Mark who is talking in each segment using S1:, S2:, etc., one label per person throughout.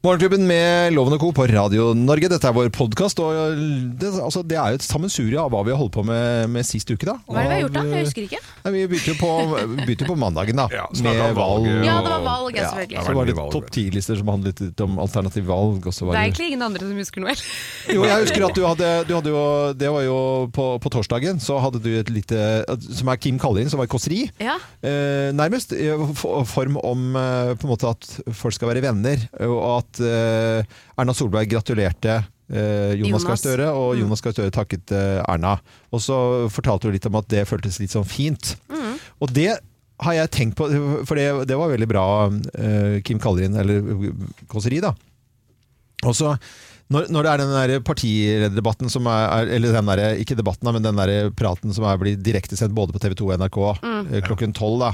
S1: Morgenklubben med Loven og Co. på Radio Norge. Dette er vår podkast. Det, altså, det er jo et sammensurie av hva vi har holdt på med, med sist uke. da.
S2: Hva er det vi
S1: Av,
S2: har
S1: eh,
S2: gjort da? Jeg husker ikke.
S1: Nei, vi begynte jo på, begynte jo på mandagen, da.
S3: Ja, snakket
S1: med
S3: om
S1: valg.
S3: valget.
S2: Ja, det var valg, ja,
S1: Ja,
S2: selvfølgelig.
S3: det
S1: Så var det
S3: Veldig valg.
S1: topp ti-lister som handlet litt om alternativ valg. Og så
S2: Det
S1: var
S2: er
S1: det
S2: egentlig ingen andre som husker noe. heller.
S1: Jo, jeg husker at du hadde, du hadde jo Det var jo på, på torsdagen, så hadde du et lite Som er Kim Kallin, som var kåseri.
S2: Ja.
S1: Eh, nærmest. I f- form om eh, på en måte at folk skal være venner, og at eh, Erna Solberg gratulerte eh, Jonas
S2: Jonas.
S1: Gahr Støre, og Jonas Gahr Støre takket eh, Erna. Og så fortalte du litt om at det føltes litt sånn fint. Og det har jeg tenkt på, for det, det var veldig bra eh, Kim Kallerin, eller eh, Kåseri, da. Og så når, når det er den der partilederdebatten som er, er Eller den der, ikke debatten, da, men den der praten som er blir direktesendt både på TV 2 og NRK eh, klokken tolv, da.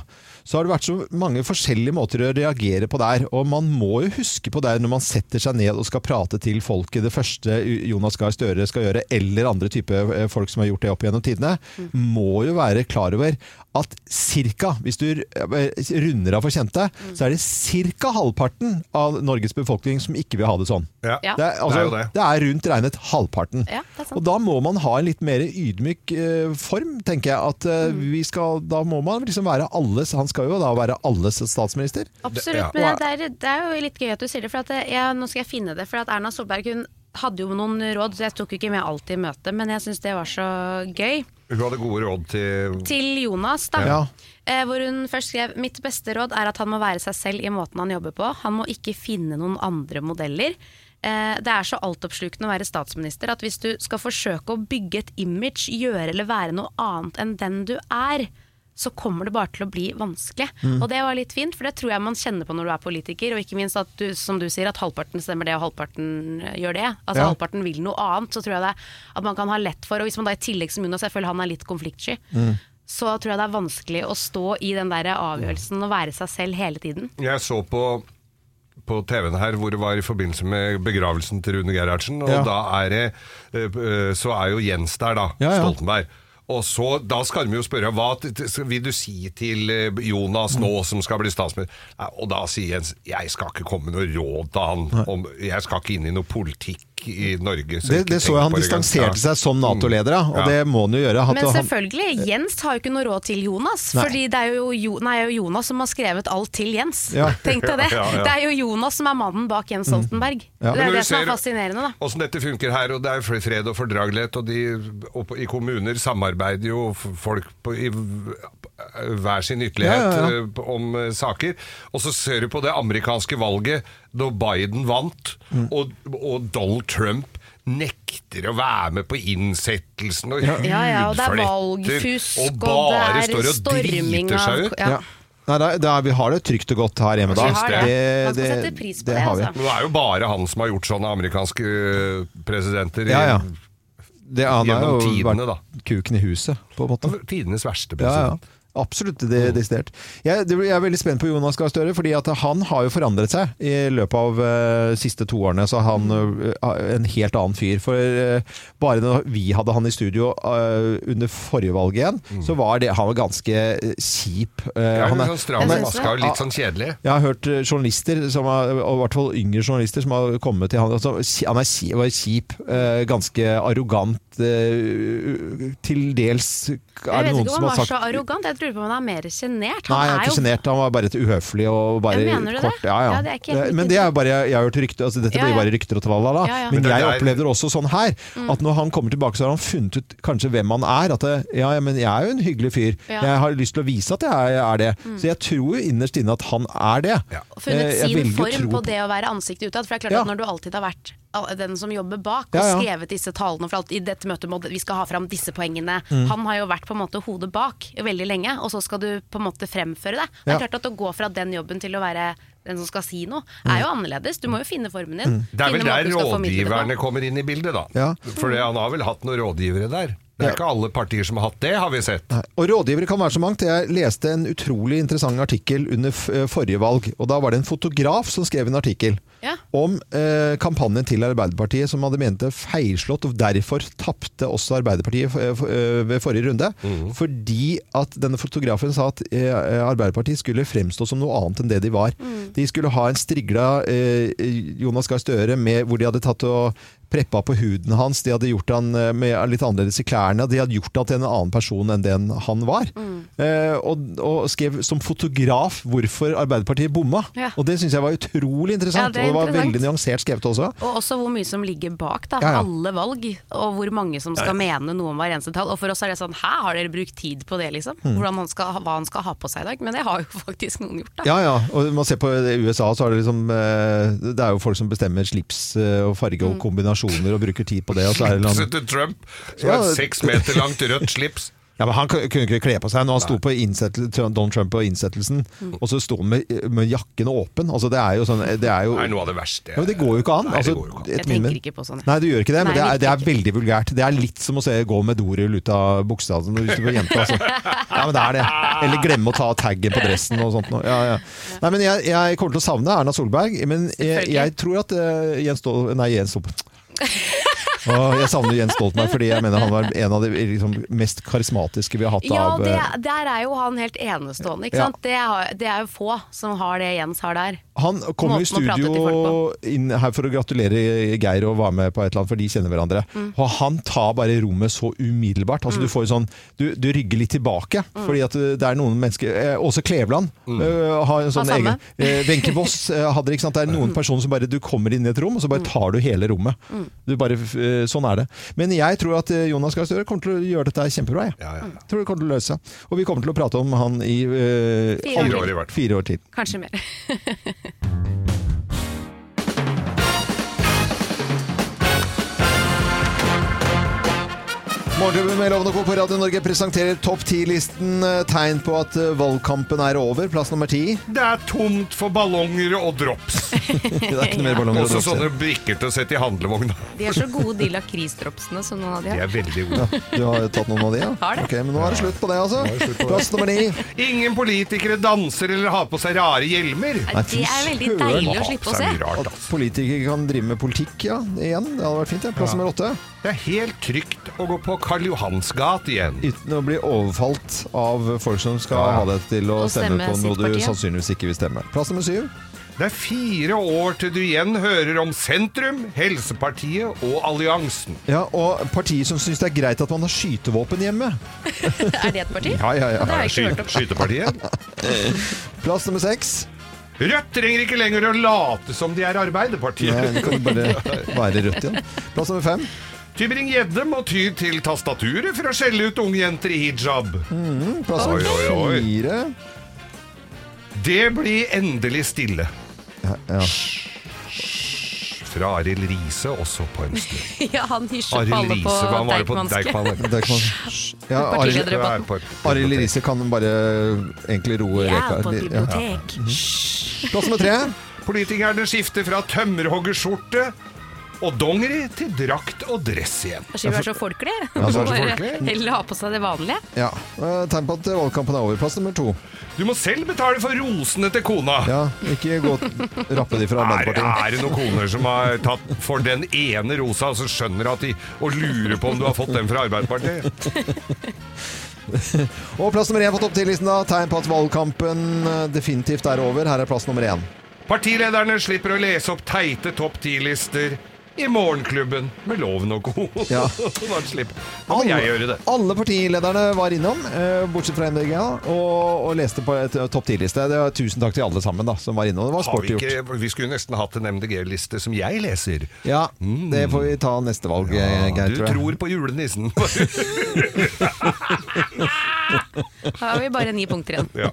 S1: Så har det vært så mange forskjellige måter å reagere på der. Og man må jo huske på det når man setter seg ned og skal prate til folket. Det første Jonas Gahr Støre skal gjøre, eller andre type eh, folk som har gjort det opp gjennom tidene, må jo være klar over at cirka, hvis du eh, runder av for kjente, så er det cirka halvparten av Norges befolkning som ikke vil ha det sånn.
S2: Ja.
S1: Det er, altså,
S3: Det er
S1: det,
S3: jo
S1: er
S3: det.
S1: rundt regnet halvparten.
S2: Ja, det er sant.
S1: Og da må man ha en litt mer ydmyk eh, form, tenker jeg. At, eh,
S2: Mm.
S1: vi skal, da må man liksom være alles Han skal jo da være alles statsminister.
S2: Absolutt.
S3: Det- ja.
S2: Men det er, det er jo litt gøy at du sier det, for at jeg, nå skal jeg finne det. For at Erna Solberg hun hadde jo noen råd, så jeg tok jo ikke med alt i møtet, men jeg syns det var så gøy.
S3: Hun hadde gode råd til
S2: Til Jonas, da.
S1: Ja.
S2: Eh, hvor hun først skrev Mitt beste råd er at han må være seg selv i måten han jobber på. Han må ikke finne noen andre modeller. Eh, det er så altoppslukende å være statsminister at hvis du skal forsøke å bygge et image, gjøre eller være noe annet enn den du er, så kommer det bare til å bli vanskelig. Og det var litt fint, for det tror jeg man kjenner på når du er politiker. Og ikke minst at du, som du sier, at halvparten stemmer det og halvparten eh, gjør det. Altså
S1: Ja.
S2: halvparten vil noe annet, så tror jeg det er at man kan ha lett for. Og hvis man da i tillegg som Jonas, jeg føler han er litt konfliktsky,
S1: Mm.
S2: så tror jeg det er vanskelig å stå i den der avgjørelsen og være seg selv hele tiden.
S3: Jeg så på på TV-en her, hvor det var i forbindelse med begravelsen til Rune Gerhardsen. Og
S1: Ja.
S3: da er det eh, eh, Så er jo Jens der, da.
S1: Ja, ja.
S3: Stoltenberg. Og så, Da skal de jo spørre hva t- t- vil du si til eh, Jonas
S1: Mm.
S3: nå som skal bli statsminister. Nei, Og da sier Jens jeg skal ikke komme med noe råd til han. Om, jeg skal ikke inn i noe politikk i Norge.
S1: Det, det så jeg han distanserte seg som Nato-leder, da, og
S3: Ja.
S1: det må han jo gjøre. At
S2: Men
S1: han,
S2: selvfølgelig, Jens har jo ikke noe råd til Jonas.
S1: Nei.
S2: Fordi det er jo, jo, nei, det er jo Jonas som har skrevet alt til Jens.
S1: Ja. Mm.
S2: Tenk deg det.
S3: Ja, ja.
S2: Det er jo Jonas som er mannen bak Jens Stoltenberg.
S1: Ja.
S2: Det
S3: Men
S2: er
S3: når
S2: det
S3: du
S2: som er
S3: ser-
S2: fascinerende, da.
S3: Åssen dette funker her, og det er jo fred og fordragelighet, og, de, og på- i kommuner samarbeider jo f- folk på, i v- hver sin ytterlighet
S1: Ja, ja, ja.
S3: eh, p- om eh, saker. Og så ser du på det amerikanske valget, da Biden vant,
S1: Mm.
S3: og, og Donald Trump nekter å være med på innsettelsen og hudfletter.
S2: Ja, ja, og det er valgfusk,
S3: og
S2: og
S3: bare
S2: det er
S3: står og
S2: storming
S3: driter
S2: av-
S3: seg ut.
S2: ja.
S1: ja. Nei, det er- det er- vi har det trygt og godt her hjemme da.
S3: Vi har det.
S2: Man skal sette pris på det,
S1: har vi.
S2: altså.
S3: Men det er jo bare han som har gjort sånne amerikanske eh, presidenter i-
S1: Ja, ja. Det, han har jo
S3: Gjennom tidene,
S1: vært
S3: da.
S1: kuken i huset, på en måte.
S3: Tidenes verste
S1: Ja,
S3: president.
S1: ja. Absolutt det, desidert. Jeg, det, jeg er veldig spent på Jonas Gahr Støre, fordi at han har jo forandret seg i løpet av eh, siste to årene. Så er han eh, en helt annen fyr. For eh, bare da vi hadde han i studio eh, under forrige valg igjen, så var det, han var ganske eh, kjip. Eh,
S3: Mm. Ja,
S1: han
S3: litt
S1: er-
S3: sånn stram
S2: Jeg
S3: i
S2: synes
S3: maska og litt sånn kjedelig.
S1: jeg har hørt eh, journalister, som har, og i hvert fall yngre journalister, som har kommet til han altså, ki- Han er ki- var kjip, eh, ganske arrogant, eh, til dels
S2: Jeg
S1: Er det
S2: vet
S1: noen
S2: ikke om
S1: som har
S2: han var
S1: sagt
S2: så arrogant, jeg tror på om han er mer sjenert.
S1: Nei,
S2: Han
S1: han er
S2: er
S1: ikke
S2: jo
S1: sjenert. Han var bare litt uhøflig og bare
S2: Ja, mener du det?
S1: kort. Ja, ja. Eh,
S2: Ja, det er ikke helt mitt
S1: men det er jo bare Jeg har hørt rykter altså, Dette
S2: Ja,
S1: blir
S2: ja.
S1: bare rykter og tralala.
S2: Ja, Mm. ja. Men
S1: Men
S3: det er
S1: jeg
S3: der-
S1: opplevde det også sånn her. At når han kommer tilbake, så har han funnet ut kanskje hvem han er. At det, ja, ja, men jeg er jo en hyggelig fyr.
S2: Ja. Mm.
S1: Jeg har lyst til å vise at jeg er det. Så jeg tror jo innerst inne at han er det.
S3: Ja.
S1: Eh,
S2: funnet
S1: jeg
S2: sin
S1: velger å
S2: form
S1: tro
S2: på det å være ansiktet utad. For det er klart
S1: Ja.
S2: at når du alltid har vært al- den som jobber bak og
S1: Ja, ja.
S2: skrevet disse talene for alt, i dette møtet må det- vi skal ha fram disse poengene
S1: Mm.
S2: Han har jo vært på en måte hodet bak veldig lenge, og så skal du på en måte fremføre det. Det
S1: Ja.
S2: er klart at å gå fra den jobben til å være den som skal si noe,
S1: Mm.
S2: er jo annerledes. Du må jo finne formen din.
S3: Det er vel
S2: finne måten
S3: der
S2: du skal formidle det på.
S3: rådgiverne kommer inn i bildet, da.
S1: Ja.
S3: For det- han har vel hatt noen rådgivere der? Det er ikke alle partier som har hatt det, har vi sett.
S1: Nei. Og rådgivere kan være så mangt. Jeg leste en utrolig interessant artikkel under f- eh, forrige valg. og Da var det en fotograf som skrev en artikkel
S2: Ja.
S1: om eh, kampanjen til Arbeiderpartiet, som hadde ment det feilslått, og derfor tapte også Arbeiderpartiet eh, f- eh, ved forrige runde. Fordi at denne fotografen sa at eh, Arbeiderpartiet skulle fremstå som noe annet enn det de var. De skulle ha en strigla eh, Jonas Gahr Støre med, hvor de hadde tatt og preppa på huden hans, de hadde gjort han eh, med litt annerledes i klærne, de hadde gjort han til en annen person enn den han var. Eh, og, og skrev som fotograf hvorfor Arbeiderpartiet bomma.
S2: Ja.
S1: Og det syns jeg var utrolig interessant,
S2: Ja, det
S1: og
S2: er
S1: det var
S2: interessant.
S1: veldig nyansert skrevet også.
S2: Og også hvor mye som ligger bak da,
S1: Ja, ja.
S2: alle valg, og hvor mange som skal mene noe om hver eneste tall. Og for oss er det sånn, hæ, har dere brukt tid på det liksom?
S1: Mm.
S2: Hvordan han skal, hva han skal ha på seg i dag? Men det har jo faktisk noen gjort da.
S1: Ja, ja. Og man ser på det i USA, så er det liksom eh, Det er jo folk som bestemmer slips eh, og farge
S2: Mm.
S1: og kombinasjoner og bruker tid på det. Og så er det noen,
S3: Slipset til Trump, som
S1: Ja,
S3: har
S1: det-
S3: et seks meter langt rødt slips.
S1: ja, men han kunne ikke kle på seg. Når han sto på innsettel- Donald Trump på innsettelsen,
S2: Mm.
S1: og så sto han med, med jakken åpen. Altså, det er jo sånn Det er jo
S3: Det er noe av det verste.
S1: Ja, men det går jo ikke an.
S3: Nei, det
S1: altså,
S3: går jo ikke an.
S1: etter
S2: Jeg
S1: min
S2: tenker
S1: mening.
S2: ikke på sånne.
S1: Nei, du gjør ikke det, men
S2: Nei,
S1: det, er, det er
S2: virkelig
S1: veldig vulgært. Det er litt som å se, gå med dorull ut av buksa når du er jente. Altså. Ja, men det er det. Eller glemme å ta taggen på dressen og sånt. noe. Ja, ja. Nei, men jeg, jeg kommer til å savne Erna Solberg, men jeg,
S2: Selvfølgelig.
S1: jeg tror at eh, Jens Stol... Nei, Jens Stol... Åh, jeg savner Jens Stoltenberg fordi jeg mener han var en av de liksom, mest karismatiske vi har hatt
S2: Ja,
S1: av
S2: det,
S1: eh,
S2: der er jo han helt enestående, ikke
S1: Ja.
S2: sant? Det er, det er jo få som har det Jens har der.
S1: Han kom jo i
S2: Måten å prate til folk
S1: studio inn her for å gratulere Geir og være med på et eller annet, for de kjenner hverandre.
S2: Mm.
S1: Og han tar bare rommet så umiddelbart. Altså Du får jo sånn Du, du rygger litt tilbake,
S2: Mm.
S1: fordi at uh, det er noen mennesker eh, Åse Kleveland
S3: Mm.
S1: eh, har en sånn
S2: Har samme.
S1: egen eh, Wenche Voss eh, hadde det, ikke sant. Det er
S3: Mm.
S1: noen personer som bare Du kommer inn i et rom, og så
S2: Mm.
S1: bare tar du hele rommet. Du bare eh, Sånn er det. Men jeg tror at eh, Jonas Gahr Støre kommer til å gjøre dette her kjempebra, jeg.
S3: Ja, ja, ja.
S1: Tror det kommer til å løse seg. Og vi kommer til å prate om han i eh,
S2: Fire år
S1: alle-
S3: til. i hvert fall.
S1: Fire år til.
S2: Kanskje mer.
S1: Morgenklubben med Lovende Co. på Radio Norge presenterer topp ti-listen. eh, Tegn på at eh, valgkampen er over. Plass nummer ti.
S3: Det er tomt for ballonger og drops.
S1: Det er ikke noe mer ballonger å
S3: Også
S1: dropse.
S3: sånne brikker til å sette i handlevogna.
S2: De er så gode, de lakrisdropsene som noen av de
S3: De
S2: har.
S3: er veldig gode.
S1: Du har tatt noen av de, ja?
S2: Har det.
S1: Ok, men nå er det slutt på det, altså. Plass nummer ni.
S3: Ingen politikere danser eller har på seg rare hjelmer.
S1: Nei,
S2: Det
S1: fy
S2: er veldig
S1: søren.
S2: deilig
S3: Må
S2: å
S3: ha
S2: slippe
S3: på
S2: å
S3: seg
S2: se.
S3: mye
S1: At
S3: Rart, altså.
S1: politikere kan drive med politikk, ja. Igjen. Det hadde vært fint. Ja. Plass nummer åtte.
S3: Det er helt trygt å gå på Karl Johans gat igjen.
S1: Uten å bli overfalt av folk som skal
S3: Ja.
S1: ha deg til å
S2: Og
S1: stemme,
S2: stemme
S1: på
S2: sitt
S1: noe du
S2: parti, ja.
S1: sannsynligvis ikke vil stemme. Plass nummer syv.
S3: Det er fire år til du igjen hører om Sentrum, Helsepartiet og Alliansen.
S1: Ja, og partier som syns det er greit at man har skytevåpen hjemme.
S2: Er det et parti?
S1: Ja, ja, ja.
S2: Det har jeg ikke hørt
S3: Sky-
S2: om.
S3: Skytepartiet.
S1: Plass nummer seks.
S3: Rødt trenger ikke lenger å late som de er
S1: Nei,
S3: Arbeiderpartiet.
S1: det kan bare være rødt igjen. Plass nummer fem.
S3: Tybring-Gjedde må ty til tastaturet for å skjelle ut unge jenter i hijab.
S1: Plass nummer
S3: Oi, oi, oi.
S1: fire.
S3: Det blir endelig stille.
S1: Ja, ja.
S3: Fra Arild Riise også på en stund.
S2: Ja, han hysjer på
S3: Arild
S2: alle på
S3: Riise, hva var det på
S2: Deichmanske.
S3: Deichmanske?
S1: Det kan, ja Arild-
S2: Partileder. Partilederdebatten.
S3: Det er på et-
S1: Arild Riise kan bare egentlig roe
S2: Jeg
S1: reka.
S2: er på
S1: Ja.
S2: bibliotek.
S1: Plass nummer tre.
S3: Politikerne skifter fra tømmerhoggerskjorte og dongeri til drakt og dress igjen.
S2: Kanskje vi er så folkelige?
S1: Ja, så er så
S2: Bare
S3: folkelige.
S2: Heller ha på seg det vanlige.
S1: Ja. eh, Tegn på at valgkampen er over. Plass nummer to.
S3: Du må selv betale for rosene til kona.
S1: Ja, ikke gå rappe de fra
S3: Er,
S1: Arbeiderpartiet.
S3: er det noen koner som har tatt for den ene rosa, og så skjønner at de og lurer på om du har fått den fra Arbeiderpartiet?
S1: Og plass nummer én på topp ti-listen, da. Tegn på at valgkampen eh, definitivt er over. Her er plass nummer én.
S3: Partilederne slipper å lese opp teite topp ti-lister i Morgenklubben med Loven og co.
S1: Ja.
S3: Da slipper Da må jeg gjøre det.
S1: alle partilederne var innom, eh, bortsett fra MDG, da, og, og leste på et eh, topp ti-liste. Det var Tusen takk til alle sammen da, som var innom. Det var
S3: Har vi,
S1: sporty gjort.
S3: ikke, vi skulle nesten hatt en MDG-liste som jeg leser.
S1: Ja, det får vi ta neste valg, eh, Geir,
S3: Mm. du
S1: tror jeg.
S3: tror på julenissen.
S2: Da har vi bare ni punkter igjen.
S3: ja.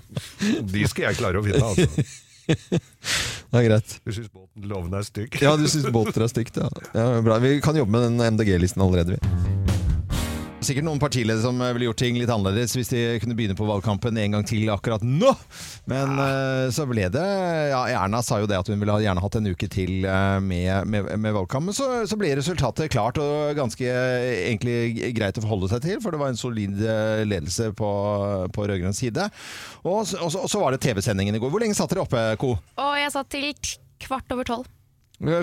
S3: De skal jeg klare å finne, altså.
S1: Det er greit.
S3: Du syns båten Loven er stygg?
S1: Ja, du syns båter er stygt, ja. ja bra. Vi kan jobbe med den MDG-listen allerede, vi. sikkert noen partiledere som eh, ville gjort ting litt annerledes hvis de kunne begynne på valgkampen en gang til akkurat nå. Men eh, så ble det ja, Erna sa jo det at hun ville ha- gjerne hatt en uke til eh, med, med, med valgkamp. Men så, så ble resultatet klart og ganske eh, egentlig greit å forholde seg til, for det var en solid eh, ledelse på, på rød-grønn side. Og, så- og, så- og så var det TV-sendingen i går. Hvor lenge satt dere oppe, Co?
S2: Og jeg satt til t- kvart over tolv.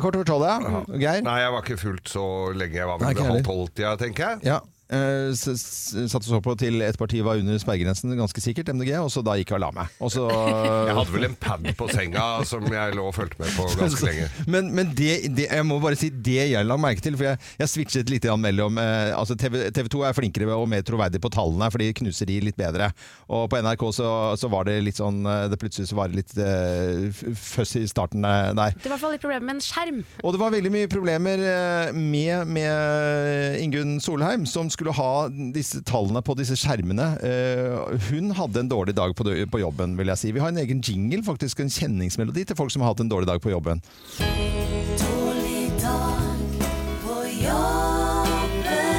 S1: Kort over tolv, ja. Geir?
S3: Nei, jeg var ikke fullt så lenge. Jeg var
S1: Nei,
S3: vel
S1: ikke
S3: halv
S1: heller.
S3: tolv-tida, tenker jeg.
S1: Ja. eh, s- s- Satt og så på til et parti var under sperregrensen, ganske sikkert, MDG, og så da gikk jeg og la meg. Og så,
S3: Jeg hadde vel en pad på senga som jeg lå og fulgte med på ganske lenge.
S1: men men det, det, jeg må bare si det jeg la merke til, for jeg, jeg switchet litt grann mellom eh, altså TV, TV 2 er flinkere og mer troverdig på tallene, for de knuser de litt bedre. Og på NRK så, så var det litt sånn eh, det Plutselig så var det litt eh, f- føss i starten eh, der.
S2: Det var i hvert fall litt problemer med en skjerm.
S1: Og det var veldig mye problemer eh, med, med Ingunn Solheim, som skulle ha disse tallene på disse skjermene. Eh, Hun hadde en dårlig dag på, dø- på jobben, vil jeg si. Vi har en egen jingle, faktisk en kjenningsmelodi til folk som har hatt en dårlig dag på jobben.
S4: Dårlig dag på jobben.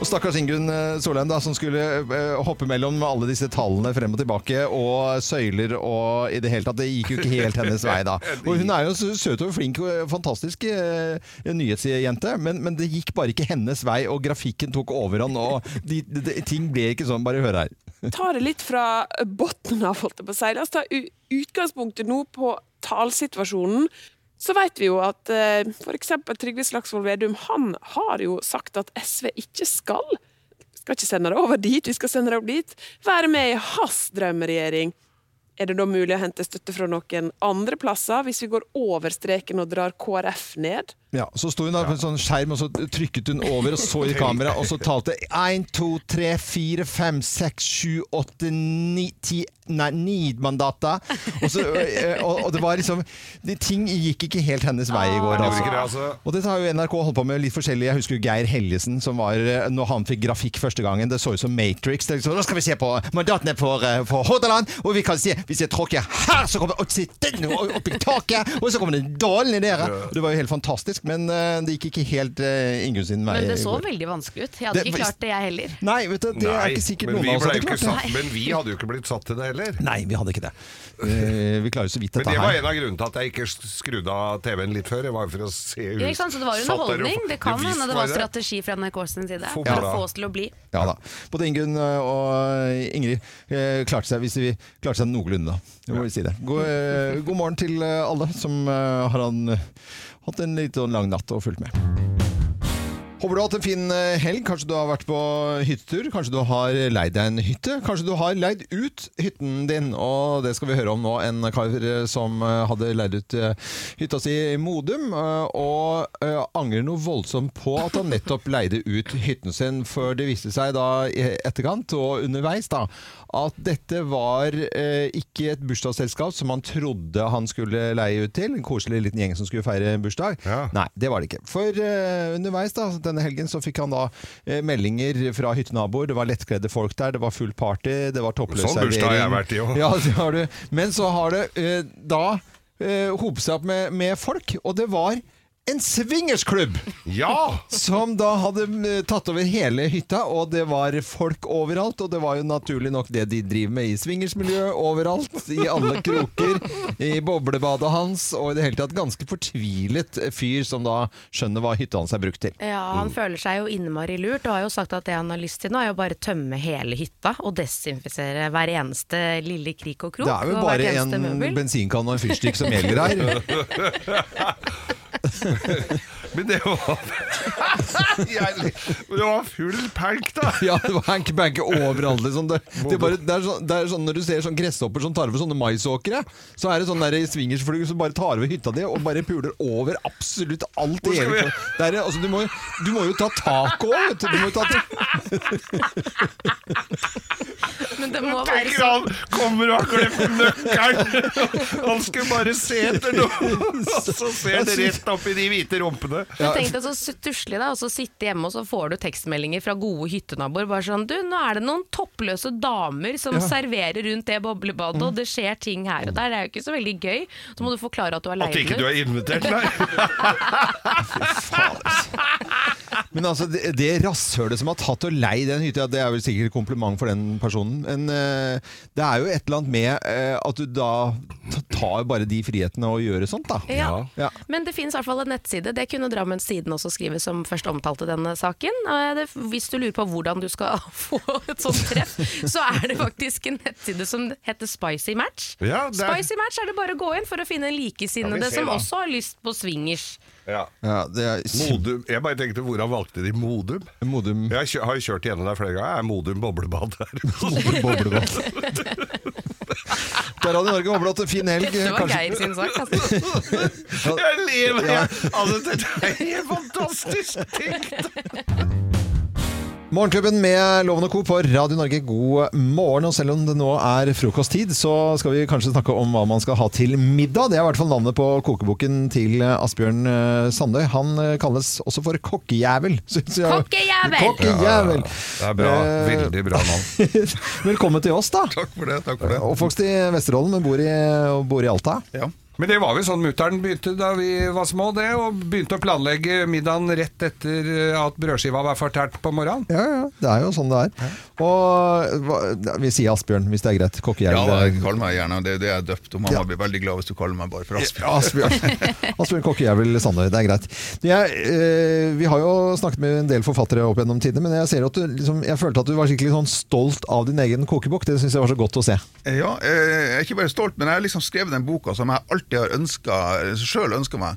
S1: Og stakkars Ingunn eh, Solheim, da, som skulle eh, hoppe mellom alle disse tallene frem og tilbake, og søyler og i det hele tatt. Det gikk jo ikke helt hennes vei, da. Og hun er jo så søt og flink og fantastisk eh, nyhetsjente, men, men det gikk bare ikke hennes vei, og grafikken tok overhånd, og de, de, de, ting ble ikke sånn. Bare hør her.
S5: ta det litt fra bunnen av, holdt jeg på å si. La oss ta u- utgangspunktet nå på talsituasjonen. Så vet vi jo at eh, for eksempel Trygve Slagsvold Vedum han har jo sagt at SV ikke skal skal ikke sende det over dit, vi skal sende det over dit. Være med i hans drømmeregjering. Er det da mulig å hente støtte fra noen andre plasser, hvis vi går over streken og drar KrF ned?
S1: Ja, Så sto hun da på en sånn skjerm, og så trykket hun over og så i kamera, og så talte 1, 2, 3, 4, 5, 6, 7, 8, 9, 10 Nei, 9 mandater. Og, så, eh, og, og det var liksom de, Ting gikk ikke helt hennes vei i går.
S3: Gjorde
S1: Altså.
S3: ikke det, altså.
S1: Og dette har jo NRK holdt på med litt forskjellig. Jeg husker jo Geir Helgesen, som var, eh, når han fikk grafikk første gangen, det så ut som Matrix. Det er liksom, nå skal vi se på mandatene for, eh, for Hordaland, og vi kan se hvis jeg tråkker her, så kommer Otsi den opp i taket, og så kommer den dalen i dere. Og Det var jo helt fantastisk, men eh, det gikk ikke helt eh, Ingunn sin vei.
S2: Men det
S1: i
S2: så
S1: går.
S2: veldig vanskelig ut. Jeg hadde
S1: Det-
S2: ikke klart det, jeg heller.
S1: Nei, vet du, det er ikke sikkert
S3: men,
S1: noen
S3: vi
S1: av oss
S3: ble
S1: hadde
S3: jo ikke
S1: klart det.
S3: satt, men vi hadde jo ikke blitt satt til det heller.
S1: Nei, vi hadde ikke det. Eh, Vi klarer jo så vidt
S3: Men
S1: dette
S3: det var
S1: her.
S3: en av grunnene til at jeg ikke skrudde av TV-en litt før. Det var for å se ut.
S2: Ja, ikke sant? Så det var jo
S3: Satt der og-
S2: underholdning. Det kan
S3: visst
S2: hende det var
S3: det.
S2: strategi fra NRK sin side
S3: Fotball,
S2: for å
S3: da.
S2: få oss til å bli.
S1: Ja da. Både Ingunn eh, og Ingrid eh, klarte seg, hvis vi klarte seg noenlunde, da. Jeg må vel si det. God, eh, god morgen til eh, alle som eh, har han, hatt en litt sånn lang natt og fulgt med. Håper du har hatt en fin eh, helg. Kanskje du har vært på hyttetur. Kanskje du har leid deg en hytte. Kanskje du har leid ut hytten din, og det skal vi høre om nå. En kar eh, som eh, hadde leid ut eh, hytta si i Modum, eh, og eh, angrer noe voldsomt på at han nettopp leide ut hytten sin. For det viste seg da i etterkant og underveis da, at dette var eh, ikke et bursdagsselskap som han trodde han skulle leie ut til. En koselig liten gjeng som skulle feire bursdag.
S3: Ja.
S1: Nei, det var det ikke. For eh, underveis da, denne helgen så fikk han da eh, meldinger fra hyttenaboer. Det var lettkledde folk der, det var full party, det var toppløs
S3: Sånn bursdag har jeg vært i også.
S1: Ja, det har du. Men så har det eh, da eh, hopet seg opp med, med folk, og det var en swingersklubb
S3: Ja!
S1: som da hadde eh, tatt over hele hytta, og det var folk overalt. Og det var jo naturlig nok det de driver med i swingersmiljøet overalt. I alle kroker, i boblebadet hans, og i det hele tatt ganske fortvilet fyr som da skjønner hva hytta hans er brukt til.
S2: Ja, Han føler seg jo innmari lurt, og har jo sagt at det han har lyst til nå, er jo bare tømme hele hytta og desinfisere hver eneste lille krik og krok.
S1: Det er
S2: og
S1: vel
S2: hvert
S1: bare
S2: eneste
S1: en
S2: møbel.
S1: bensinkanne og en fyrstikk som gjelder her.
S3: Men det var jeg, Det var full pelk, da.
S1: Ja, det var hank-bank overalt. Liksom. Det, det, er bare, det, er sånn, det er sånn når du ser sånn gresshopper som tar over sånne maisåkre, så er det sånn der swingersflue som bare tar over hytta di og bare puler over absolutt alt i
S3: skal
S1: hele
S3: vi-
S1: det er, altså, du, må, du må jo ta taco òg, vet du. du må jo ta ta
S2: Men det må være
S3: Tenker
S2: så
S3: han kommer og har glemt nøkkelen! Han skulle bare se etter noe, og så ser han rett opp i de hvite rumpene.
S2: Men tenk deg så stusslig da, og så sitte hjemme og så får du tekstmeldinger fra gode hyttenaboer. Bare sånn du, nå er det noen toppløse damer som serverer rundt det boblebadet,
S3: Mm.
S2: og det skjer ting her og der. Det er jo ikke så veldig gøy. Så må du forklare at du har
S3: At
S2: leid
S3: ikke
S2: den
S3: du
S2: ut.
S3: er invitert, nei.
S1: Men altså, det, det rasshølet som har tatt og lei den hytta, det er vel sikkert et kompliment for den personen. Men eh, det er jo et eller annet med eh, at du da ta- tar bare de frihetene og gjør sånt, da.
S2: Ja.
S1: Ja.
S2: Men det finnes i hvert fall en nettside. Det kunne Drammens Siden også skrive, som først omtalte denne saken. Og det, hvis du lurer på hvordan du skal få et sånt treff, så er det faktisk en nettside som heter Spicy Match.
S3: Ja, det er-
S2: Spicy Match er det bare å gå inn for å finne
S3: Ja,
S2: likesinnede
S3: vi ser
S2: som
S3: da.
S2: også har lyst på swingers.
S3: Ja.
S1: Ja, det er kjempe-
S3: Modum. Jeg bare tenkte, hvordan valgte de Modum?
S1: Modum
S3: Jeg kjø- har jo kjørt gjennom der flere ganger. Er Modum boblebad der?
S1: boblebad. Det er Radio Norge håper du har hatt en fin helg.
S2: Dette var
S1: Kanskje-
S2: Geir sin sak. Altså.
S3: Jeg lever! Jeg. Altså, dette er helt fantastisk tenkt!
S1: Morgenklubben med Loven og Co. på Radio Norge, god morgen. Og selv om det nå er frokosttid, så skal vi kanskje snakke om hva man skal ha til middag. Det er i hvert fall navnet på kokeboken til Asbjørn eh, Sandøy. Han eh, kalles også for kokkejævel. synes jeg.
S2: Kokkejævel!
S1: Kokkejævel.
S3: Det er bra.
S1: Eh,
S3: Veldig bra navn.
S1: Velkommen til oss, da.
S3: Takk for det. takk for det.
S1: Oppvokst i Vesterålen, men bor i, og bor i Alta.
S6: Ja.
S3: Men det var vel sånn mutter'n begynte da vi var små, det, og begynte å planlegge middagen rett etter eh, at brødskiva var fortært på morgenen.
S1: Ja, ja, det er jo sånn det er. Og hva- vi sier Asbjørn, hvis det er greit.
S6: ja,
S1: Kokkejævel. det er-
S6: kall meg gjerne det. er Det jeg er døpt, og mamma blir veldig glad hvis du kaller meg bare for Asbjørn.
S1: Asbjørn. Asbjørn Kokkejævel Sandøy, det er greit. Det er, eh, vi har jo snakket med en del forfattere opp gjennom tidene, men jeg, ser at du, liksom, jeg følte at du var skikkelig sånn stolt av din egen kokebok. Det syns jeg var så godt å se.
S6: Ja, eh, jeg er ikke bare stolt, men jeg har liksom skrevet den boka som jeg alltid har ønska, sjøl ønska meg.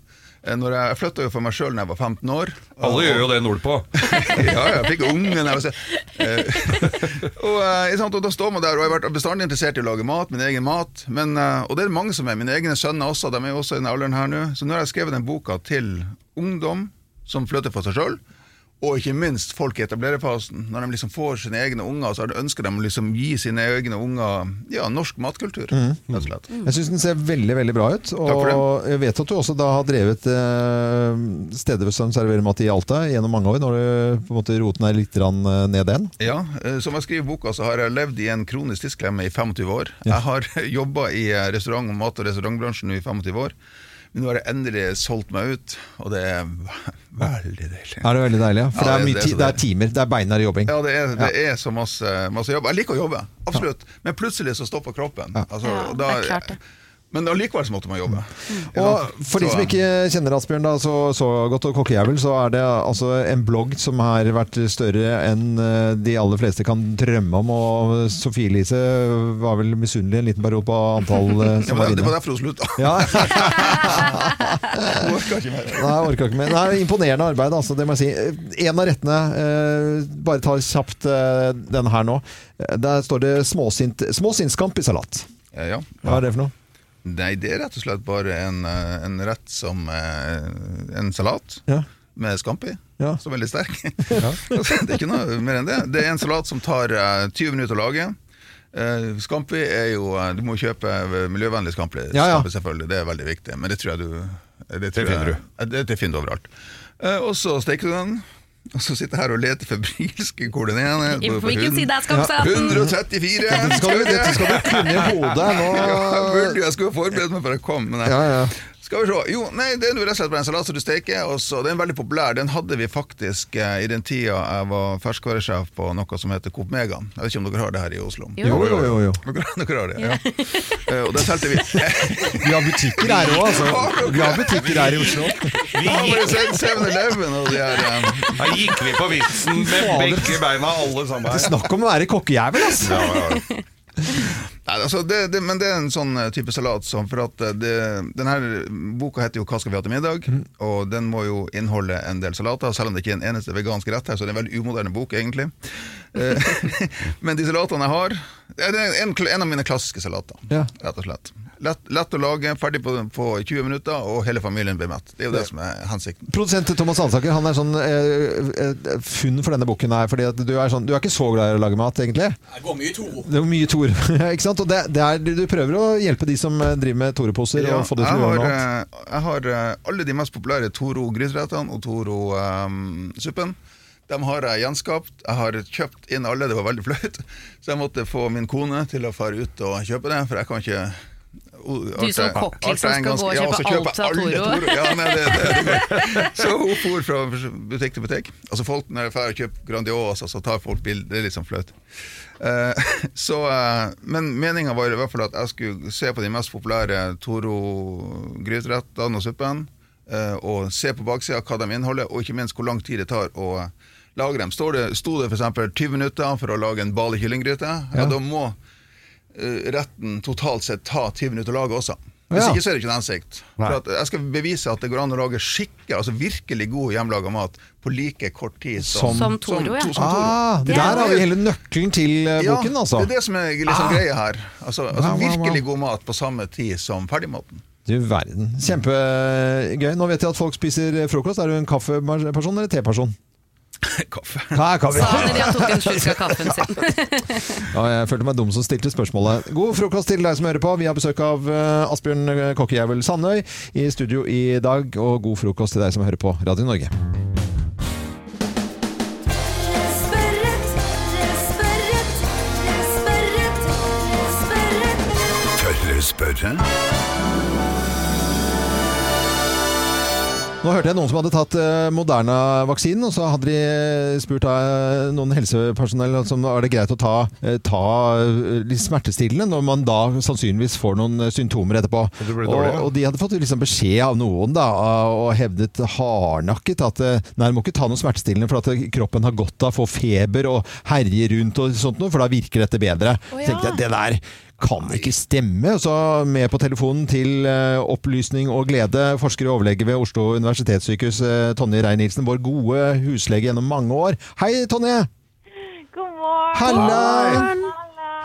S6: Eh, Når jeg jeg flytta jo for meg sjøl da jeg var 15 år.
S3: Alle gjør jo det nordpå.
S6: ja, jeg fikk ungen her. Og, så, eh, og, eh, ikke sant, og da står man der, og jeg har vært bestandig interessert i å lage mat, min egen mat. Men, eh, og det er det mange som er. Mine egne sønner også, de er jo også i den alderen her nå. Så nå har jeg skrevet den boka til ungdom som flytter for seg sjøl. Og ikke minst folk i etablererfasen. Når de liksom får sine egne unger, så har de- ønsker de å liksom gi sine egne unger ja, norsk matkultur. rett og slett.
S1: Jeg syns den ser veldig veldig bra ut.
S6: Takk for
S1: Og jeg vet at du også da har drevet eh, stedet som serverer mat i Alta gjennom mange år, når du, på en måte, roten er litt grann, eh, ned igjen.
S6: Ja, eh, Som jeg skriver i boka, så har jeg levd i en kronisk tidsklemme i 25 år. Jeg har jobba i eh, restaurant, mat- og restaurantbransjen nå i 25 år. Men nå har jeg endelig solgt meg ut, og det er ve- veldig deilig.
S1: Er det veldig deilig? ja? For
S6: Ja,
S1: det, er
S6: det-
S1: mye,
S6: det er
S1: ti-
S6: så
S1: det er timer. Det er beinhard jobbing.
S6: Ja, det er, det er så masse, masse jobb. Jeg liker å jobbe, absolutt. Men plutselig så stopper kroppen. Altså,
S2: Ja,
S6: og
S2: det er klart det.
S6: Men allikevel så måtte man jobbe.
S1: Mm. Og for de
S6: Så-
S1: som ikke kjenner Asbjørn da, så, så godt og kokkejævel, så er det altså en blogg som har vært større enn eh, de aller fleste kan drømme om. Og Sofie Elise var vel misunnelig en liten periode på antall eh,
S6: ja,
S1: som
S6: men
S1: var
S6: det, det var
S1: inne.
S6: derfor hun slutta.
S1: Ja,
S6: Hun orka ikke mer.
S1: Nei, jeg orka ikke mer. Nei, imponerende arbeid, altså. Det må jeg si. En av rettene eh, Bare ta kjapt eh, den her nå. Eh, Der står det småsint, småsinnskamp i salat.
S6: Eh, Ja, ja.
S1: Hva er det for noe?
S6: Nei, det er rett og slett bare en, eh, en rett som eh, en salat.
S1: Ja.
S6: med scampi,
S1: Ja.
S6: som er veldig sterk. det er ikke noe mer enn det. Det er en salat som tar eh, 20 minutter å lage. Eh, scampi er jo eh, Du må jo kjøpe eh, miljøvennlig scampi,
S1: Ja, ja.
S6: scampi selvfølgelig. Det er veldig viktig. Men det tror jeg du eh, Det, tror
S3: Det finner
S6: jeg-
S3: du.
S6: Ja, Det, det finner du overalt. Eh, og så steker du den. Og så sitter jeg her og leter febrilsk i hvor den ene
S2: I
S6: på- på
S2: hvilken
S6: hund-
S2: side er skapsaten?
S6: 134!
S1: Dette skal du, dette skal du kunne i hodet nå.
S6: Ja, jeg burde jo, jeg skulle jo forberedt meg for å komme. Men jeg,
S1: Ja, ja.
S6: Skal vi se. Jo, nei, det er jo rett og slett bare en salat som du steker. Og så, den er veldig populær. Den hadde vi faktisk eh, i den tida jeg var ferskvaresjef på noe som heter Coop Mega. Jeg vet ikke om dere har det her i Oslo?
S1: Jo, jo, jo. jo.
S6: Dere, dere har det, ja. Eh, og der solgte vi
S1: Vi har butikker her òg, altså. Vi har butikker her i Oslo.
S6: Vi gikk 7-Eleven og de her eh,
S3: Her gikk vi på vitsen med begge beina, alle sammen. her.
S1: Snakk om å være kokkejævel, altså.
S6: Nei, altså det, det, men det er en sånn eh, type salat som For at eh, det, den her boka heter jo 'Hva skal vi ha til middag?' Og den må jo inneholde en del salater, selv om det ikke er en eneste vegansk rett her, så det er en veldig umoderne bok, egentlig. Eh, men de salatene jeg har ja, Det er en, en av mine klassiske salater,
S1: Ja.
S6: rett og slett. Lett, lett å lage, ferdig på, på 20 minutter, og hele familien blir mett. Det er jo det som er hensikten.
S1: Produsent Thomas Hansaker han er sånn eh, eh, funn for denne boken her. fordi at du er, sånn, du er ikke så glad i å lage mat, egentlig.
S7: Jeg går mye i to.
S1: Det er jo mye Tore. ikke sant? Og det, det er, du prøver å hjelpe de som eh, driver med Tore-poser.
S6: Ja,
S1: og få det til å
S6: jeg,
S1: gjøre
S6: har,
S1: noe annet.
S6: eh, jeg har eh, alle de mest populære Toro gryterettene og Toro ehm, suppen. De har jeg gjenskapt. Jeg har kjøpt inn alle, det var veldig flaut. Så jeg måtte få min kone til å fare ut og kjøpe det, for jeg kan ikke
S2: Du som kokk, liksom, skal gå og
S6: altså
S2: kjøpe alt fra Toro.
S6: Ja, nei, det, det, det. Så hun for fra butikk til butikk. Altså folk Når jeg drar og kjøper Grandiosa, så tar folk bilder. Det er litt sånn flaut. Eh, så, eh, men meninga var i hvert fall at jeg skulle se på de mest populære Toro-gryterettene og suppen. eh, og se på baksida hva de inneholder, og ikke minst hvor lang tid det tar å eh, lage dem. Står det, sto det f.eks. 20 minutter for å lage en bali kyllinggryte, ja. da må eh, retten totalt sett ta 20 minutter å lage også. Hvis
S1: Ja.
S6: ikke så er det ikke en hensikt.
S1: Nei.
S6: For at jeg skal bevise at det går an å lage skikke, altså virkelig god hjemmelaga mat på like kort tid som,
S2: Som Toro, ja.
S6: to- eh, som Toro.
S1: Ah, der har vi hele nøkkelen til eh, boken, altså.
S6: Det er det som er liksom greia her. Altså, altså
S1: Wow, wow, wow.
S6: Virkelig god mat på samme tid som ferdigmaten.
S1: Du verden. Kjempegøy. Nå vet jeg at folk spiser eh, frokost. Er du en kaffeperson eller teperson?
S6: Kaffe.
S1: Her kan vi.
S2: Sa han idet han tok en slurk av kaffen sin.
S1: Ja, jeg følte meg dum som stilte spørsmålet. God frokost til deg som hører på. Vi har besøk av eh, Asbjørn eh, Kokkejævel Sandøy i studio i dag, og god frokost til deg som hører på Radio Norge.
S4: Dere sperret, dere sperret, dere sperret, dere sperret.
S6: Tørre spørre?
S1: Nå hørte jeg noen som hadde tatt eh, Moderna-vaksinen, og så hadde de eh, spurt eh, noen helsepersonell altså, om er det greit å ta, eh, ta eh, litt smertestillende når man da sannsynligvis får noen eh, symptomer etterpå.
S3: du ble
S1: og,
S3: dårlig, ja.
S1: og de hadde fått liksom beskjed av noen da, av- og hevdet hardnakket at eh, nei, du må ikke ta noe smertestillende for at eh, kroppen har godt av å få feber og herje rundt og sånt noe, for da virker dette bedre.
S2: Å, ja.
S1: Så tenkte jeg, det der kan ikke stemme. Og Så med på telefonen til eh, opplysning og glede, forsker og overlege ved Oslo universitetssykehus, eh, Tonje Rein-Nilsen, vår gode huslege gjennom mange år. Hei, Tonje!
S8: God morgen!
S1: Halla!
S8: Halla.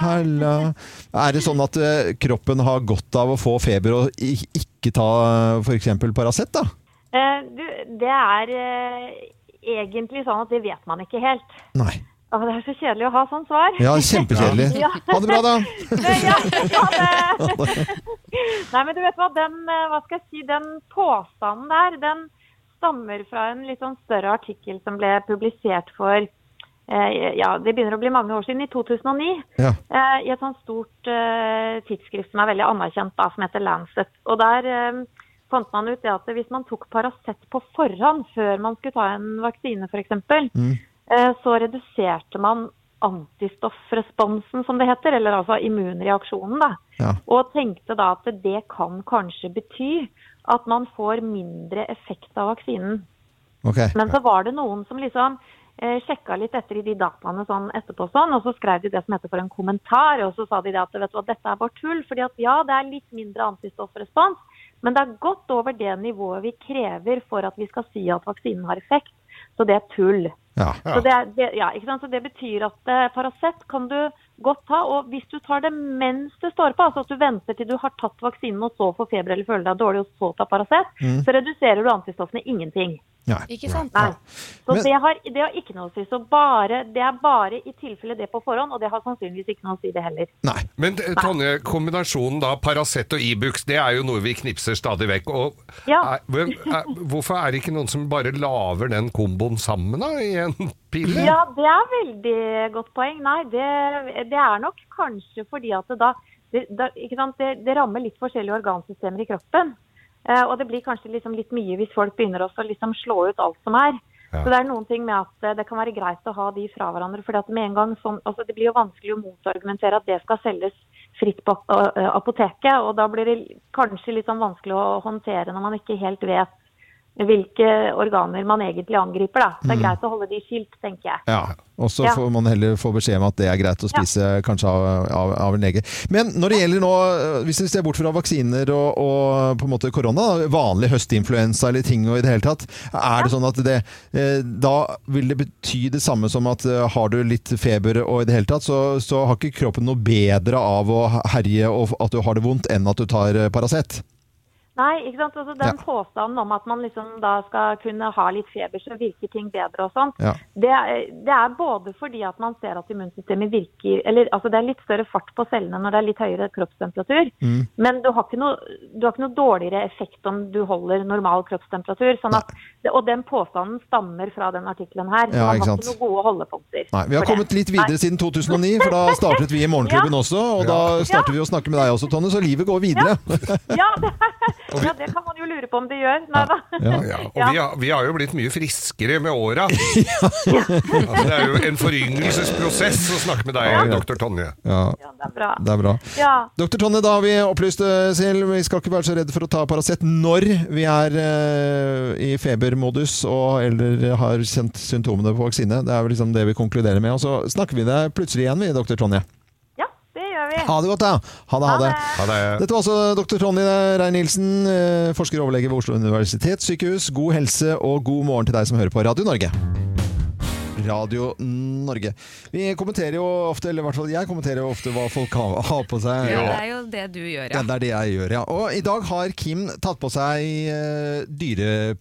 S1: Halla. Er det sånn at eh, kroppen har godt av å få feber og i- ikke ta f.eks. Paracet, da?
S8: Eh, du, det er eh, egentlig sånn at det vet man ikke helt.
S1: Nei.
S8: Å, det er så kjedelig å ha sånn svar.
S1: Ja, kjempekjedelig.
S8: Ja.
S1: Ha det bra, da!
S8: ja, ja, det. Nei, men du vet hva, den, eh, hva skal jeg si, den påstanden der, den stammer fra en litt sånn større artikkel som ble publisert for, eh, ja, det begynner å bli mange år siden, i 2009.
S1: Ja.
S8: eh, i et sånt stort eh, tidsskrift som er veldig anerkjent, da, som heter Lancet. Og Der eh, fant man ut det at hvis man tok Paracet på forhånd før man skulle ta en vaksine f.eks.,
S1: Mm.
S8: eh, så reduserte man antistoffresponsen, som det heter, eller altså immunreaksjonen. da.
S1: Ja.
S8: Og tenkte da at det kan kanskje bety at man får mindre effekt av vaksinen.
S1: Ok.
S8: Men så var det noen som liksom eh, sjekka litt etter i de dataene sånn etterpå sånn, og så skrev de det som heter for en kommentar, og så sa de det at vet du hva, dette er bare tull, fordi at ja, det er litt mindre antistoffrespons, men det er godt over det nivået vi krever for at vi skal si at vaksinen har effekt. Så det er tull.
S1: Ja.
S8: Så, det, er- det, ja, ikke sant? så det betyr at eh, Paracet kan du godt ta, og hvis du tar det mens det står på, altså at du venter til du har tatt vaksinen og så får feber eller føler deg dårlig og så tar Paracet, så reduserer du antistoffene ingenting.
S1: Nei.
S2: Ikke sant?
S8: Nei. Så
S1: Men-
S8: det, har, det har ikke noe å si. Så bare, det er bare i tilfelle det på forhånd, og det har sannsynligvis ikke noe å si det heller.
S1: Nei.
S3: Men eh, Tonje, kombinasjonen da Paracet og Ibux, det er jo noe vi knipser stadig vekk. Og
S8: Ja.
S3: er, hvem- er, hvorfor er det ikke noen som bare laver den komboen sammen da, i en pille?
S8: Ja, det er veldig godt poeng. Nei, det, det er nok kanskje fordi at det da det, da- ikke sant? Det, det rammer litt forskjellige organsystemer i kroppen. Eh, og det blir kanskje liksom litt mye hvis folk begynner også å liksom slå ut alt som er.
S3: Ja.
S8: Så det er noen ting med at eh, det kan være greit å ha de fra hverandre. For med en gang sånn, altså det blir jo vanskelig å motargumentere at det skal selges fritt på eh, apoteket. Og da blir det kanskje litt sånn vanskelig å håndtere når man ikke helt vet hvilke organer man egentlig angriper. Da. Så Det er greit å holde de skilt, tenker jeg.
S1: Ja, og så
S8: Ja.
S1: får man heller få beskjed om at det er greit å spise kanskje av, av, av en lege. Men når det gjelder nå, øh, hvis vi ser bort fra vaksiner og, og på en måte korona, da, vanlig høstinfluensa eller ting og i det hele tatt, er det sånn at det eh, Da vil det bety det samme som at eh, har du litt feber og i det hele tatt, så, så har ikke kroppen noe bedre av å herje og f- at du har det vondt enn at du tar eh, Paracet.
S8: Nei, ikke sant? Altså, den påstanden om at man liksom da skal kunne ha litt feber, så virker ting bedre og sånt,
S1: Ja.
S8: det, er- det er både fordi at man ser at immunsystemet virker eller, altså, Det er litt større fart på cellene når det er litt høyere kroppstemperatur,
S1: Mm.
S8: men du har, ikke noe, du har ikke noe dårligere effekt om du holder normal kroppstemperatur. Sånn at, og den påstanden stammer fra den artikkelen her. så
S1: Ja,
S8: man
S1: ikke
S8: har
S1: sant.
S8: ikke noen gode holdepunkter.
S1: Nei, Vi har
S8: for det.
S1: kommet litt videre siden 2009, for da startet vi i Morgenklubben også. Og da startet vi å snakke med deg også, Tonje, så livet går videre.
S8: Ja det, ja, det kan man jo lure på om det gjør. Nei da.
S3: Ja, og
S8: Ja.
S3: Vi, har, vi har jo blitt mye friskere med åra. altså, det er jo en foryngelsesprosess å snakke med deg, doktor Tonje.
S8: Ja, det er bra.
S1: Det er bra.
S8: Ja.
S1: Doktor Tonje, da har vi opplyst eh, Sil. Vi skal ikke være så redde for å ta Paracet når vi er eh, i febermodus og eller har kjent symptomene på vaksine. Det er vel liksom det vi konkluderer med. Og så snakker vi deg plutselig igjen, vi, doktor Tonje.
S8: ja, det gjør vi.
S1: Ha det godt, da. Ha det, ha det.
S3: Ja, det er,
S1: Dette var altså dr. Tonje Rein-Nielsen, eh, forsker og overlege ved Oslo universitetssykehus. God helse og god morgen til deg som hører på Radio Norge. Radio Norge. Vi kommenterer jo ofte, eller i hvert fall jeg kommenterer jo ofte hva folk har har på seg.
S2: Ja, det er jo det du gjør,
S1: Ja,
S2: ja.
S1: det er det jeg gjør, ja. Og i dag har Kim tatt på seg eh,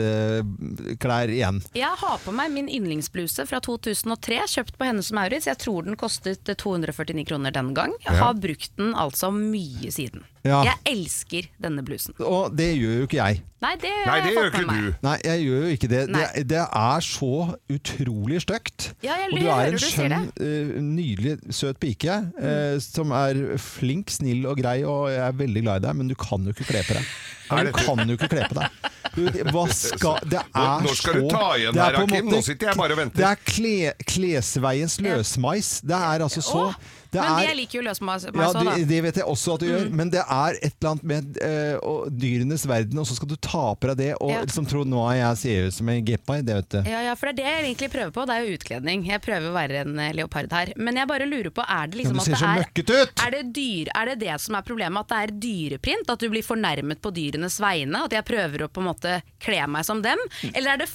S1: dyreprintklær igjen.
S2: Jeg har på meg min yndlingsbluse fra 2003, kjøpt på Hennes og Maurits. Jeg tror den kostet eh, 249 kroner den gang. Jeg har brukt den altså mye siden.
S1: Ja.
S2: Jeg elsker denne blusen.
S1: Og det gjør jo ikke jeg.
S2: Nei, det,
S3: nei,
S2: har
S3: det
S2: jeg
S3: gjør
S2: fått med
S3: ikke
S2: meg.
S3: du.
S1: Nei, jeg gjør jo ikke det. Det,
S2: Nei.
S1: det er så utrolig stygt.
S2: Ja, jeg
S1: og
S2: ler-
S1: du er
S2: hører
S1: en
S2: du sier Mm.
S1: skjønn, eh, nydelig, søt pike eh, som er flink, snill og grei, og jeg er veldig glad i deg, men du kan jo ikke kle på deg.
S3: Er
S1: Du
S3: dette-
S1: kan jo ikke kle på deg. Du, hva skal Det er så
S3: Nå- nå skal du ta igjen
S1: det er
S3: her,
S1: på en
S3: Kim.
S1: måte-
S3: Nå sitter jeg bare og venter.
S1: Det er kle, klesveiens løsmeis. Det er altså så
S2: Åh,
S1: det
S2: men
S1: er-
S2: jeg liker jo løsmeis
S1: ja,
S2: òg, da. Mm.
S1: det, det vet jeg også at du gjør, men det er et eller annet med eh, og dyrenes verden, og så skal du ta på deg det og
S2: Ja.
S1: liksom tro nå er jeg ser ut som en gepai, det vet du.
S2: Ja, ja, for det er det jeg egentlig prøver på. Det er jo utkledning. Jeg prøver å være en eh, leopard her. Men jeg bare lurer på, er det
S1: Ja,
S2: liksom
S1: du
S2: at
S1: ser
S2: det
S1: så
S2: er
S1: møkket ut!
S2: er det, dyr, er det det som er problemet, at det er dyreprint? At du blir fornærmet på dyrenes vegne? At jeg prøver å på en måte kle meg som dem? Eller er det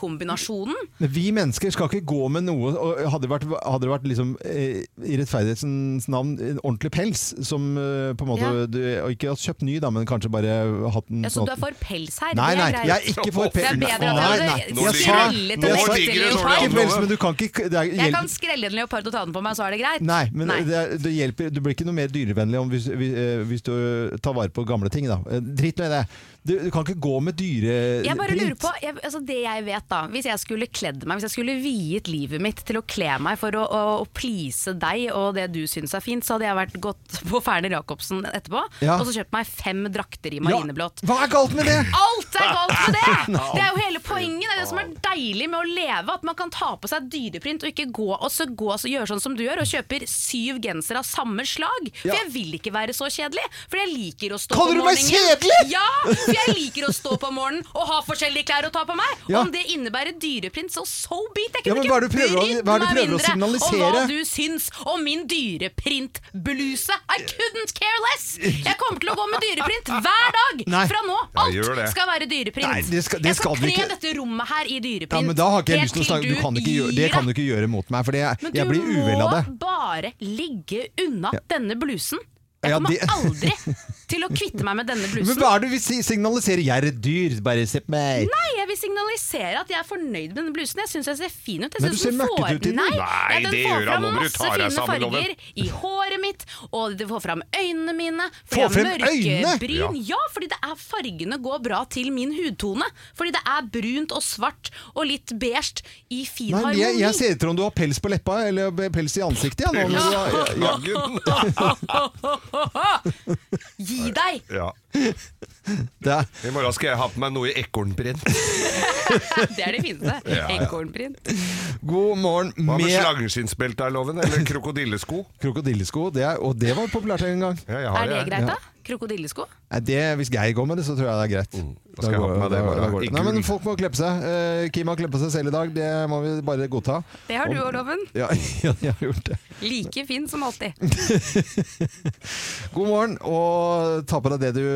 S2: fargekombinasjonen?
S1: Men Vi mennesker skal ikke gå med noe og Hadde det vært, hadde det vært liksom, eh, i rettferdighetens navn en ordentlig pels, som eh, på en måte
S2: Ja.
S1: du, og Ikke har kjøpt ny, da, men kanskje bare hatt den
S2: Ja, så
S1: sånn
S2: du er
S1: at-
S2: for pels her?
S1: Nei,
S2: Det
S1: nei,
S2: er greit.
S1: jeg er ikke for
S3: Det
S2: er
S1: pels.
S2: bedre
S1: Nei,
S2: at jeg
S1: nei.
S2: hadde
S1: Jeg sa,
S2: skrellet en
S1: jeg sa
S2: ekte
S1: ikke
S2: leopard.
S1: pels, men du kan ikke det er,
S2: Jeg kan skrelle en leopard og ta den på meg, så er det greit.
S1: Nei, men Det, er- det hjelper. Du blir ikke noe mer dyrevennlig om hvis, vi- eh, hvis du tar vare på gamle ting. Da. Eh, Drit nå i det. Du, du kan ikke gå med dyreprint.
S2: Jeg bare lurer på, jeg, altså det jeg vet da Hvis jeg skulle kledd meg, hvis jeg skulle viet livet mitt til å kle meg for å, å, å please deg og det du syns er fint, så hadde jeg vært gått på Ferner Jacobsen etterpå
S1: Ja.
S2: og så kjøpt meg fem drakter i marineblått.
S1: Hva er galt med det?!
S2: Alt er galt med det! Det er jo hele poenget. Det er det som er deilig med å leve. At man kan ta på seg dyreprint og ikke gå og så gå og så gjøre sånn som du gjør, og kjøper syv gensere av samme slag. For
S1: Ja.
S2: jeg vil ikke være så kjedelig. For jeg liker å stå
S1: Kaller
S2: på
S1: du meg
S2: morgenen.
S1: kjedelig?
S2: Ja! For jeg liker å stå på morgenen og ha forskjellige klær å ta på meg.
S1: Ja.
S2: Om det innebærer dyreprint, så so be it.
S1: Ja,
S2: Jeg kunne
S1: men hva er det du
S2: ikke
S1: prøver å-
S2: brydd
S1: hva er det du
S2: meg
S1: prøver å
S2: mindre om hva
S1: signalisere?
S2: du syns om min dyreprintbluse. I couldn't care less! Jeg kommer til å gå med dyreprint hver dag
S1: Nei.
S2: fra nå.
S3: Ja,
S2: Alt
S3: gjør det.
S2: skal være dyreprint.
S1: Nei, det skal- det
S2: jeg skal
S1: skal du
S2: kle
S1: ikke.
S2: dette rommet her i dyreprint.
S1: Ja, men da har ikke jeg
S2: helt
S1: lyst til å
S2: til
S1: snakke. Du kan ikke gjøre,
S2: gir
S1: det kan du
S2: deg.
S1: ikke gjøre mot meg, for det,
S2: Men
S1: jeg blir uvel av det.
S2: Du må bare ligge unna denne blusen. Jeg
S1: Ja,
S2: kommer
S1: det-
S2: aldri til å kvitte meg med denne
S1: Men
S2: blusen.
S1: hva er det du vil si? signalisere? Jeg er et dyr, bare se på meg!
S2: Nei, jeg vil signalisere at jeg er fornøyd med denne blusen. Jeg syns jeg ser fin ut. Jeg
S1: Men du
S2: synes
S1: ser
S2: den
S1: møkket ut i den.
S2: Nei,
S3: Nei,
S2: ja, den
S3: det
S2: får
S3: gjør han
S2: fram
S3: nå, men du
S2: masse
S3: tar deg
S2: fine
S3: sammen, Loven.
S2: farger i håret mitt, og det får fram øynene mine.
S1: Få
S2: fordi jeg
S1: frem
S2: har mørke
S1: øynene?
S3: Ja.
S2: Bryn. Ja, fordi det er fargene går bra til min hudtone. Fordi det er brunt og svart og litt beige i fin
S1: Nei, men jeg,
S2: harmoni.
S1: jeg ser ut som om du har pels på leppa, eller pels i ansiktet. Ja, nå, når du har- ja, ja.
S2: Gi deg!
S3: Ja.
S1: Det er-
S3: I morgen skal jeg ha på meg noe i ekornprint.
S2: Det er det fineste.
S3: Ja, ja.
S2: Ekornprint.
S1: God morgen
S3: Hva med
S1: med
S3: slangeskinnsbelte er loven? Eller krokodillesko?
S1: krokodillesko, det er, og det var populært en gang.
S3: Ja, jeg
S2: Er
S3: har
S2: det
S3: jeg.
S2: greit, da? Krokodillesko?
S1: Nei, det, hvis Geir går med det, så tror jeg det er greit.
S3: Mm. Da skal jeg ha på meg det i morgen.
S1: går
S3: I
S1: Nei, men
S3: gul.
S1: Folk må kle på seg. Eh, Kim har kledd på seg selv i dag, det må vi bare godta.
S2: Det har du òg, Loven.
S1: Ja, ja, jeg har gjort det.
S2: Like fin som alltid.
S1: God morgen, og ta på deg det du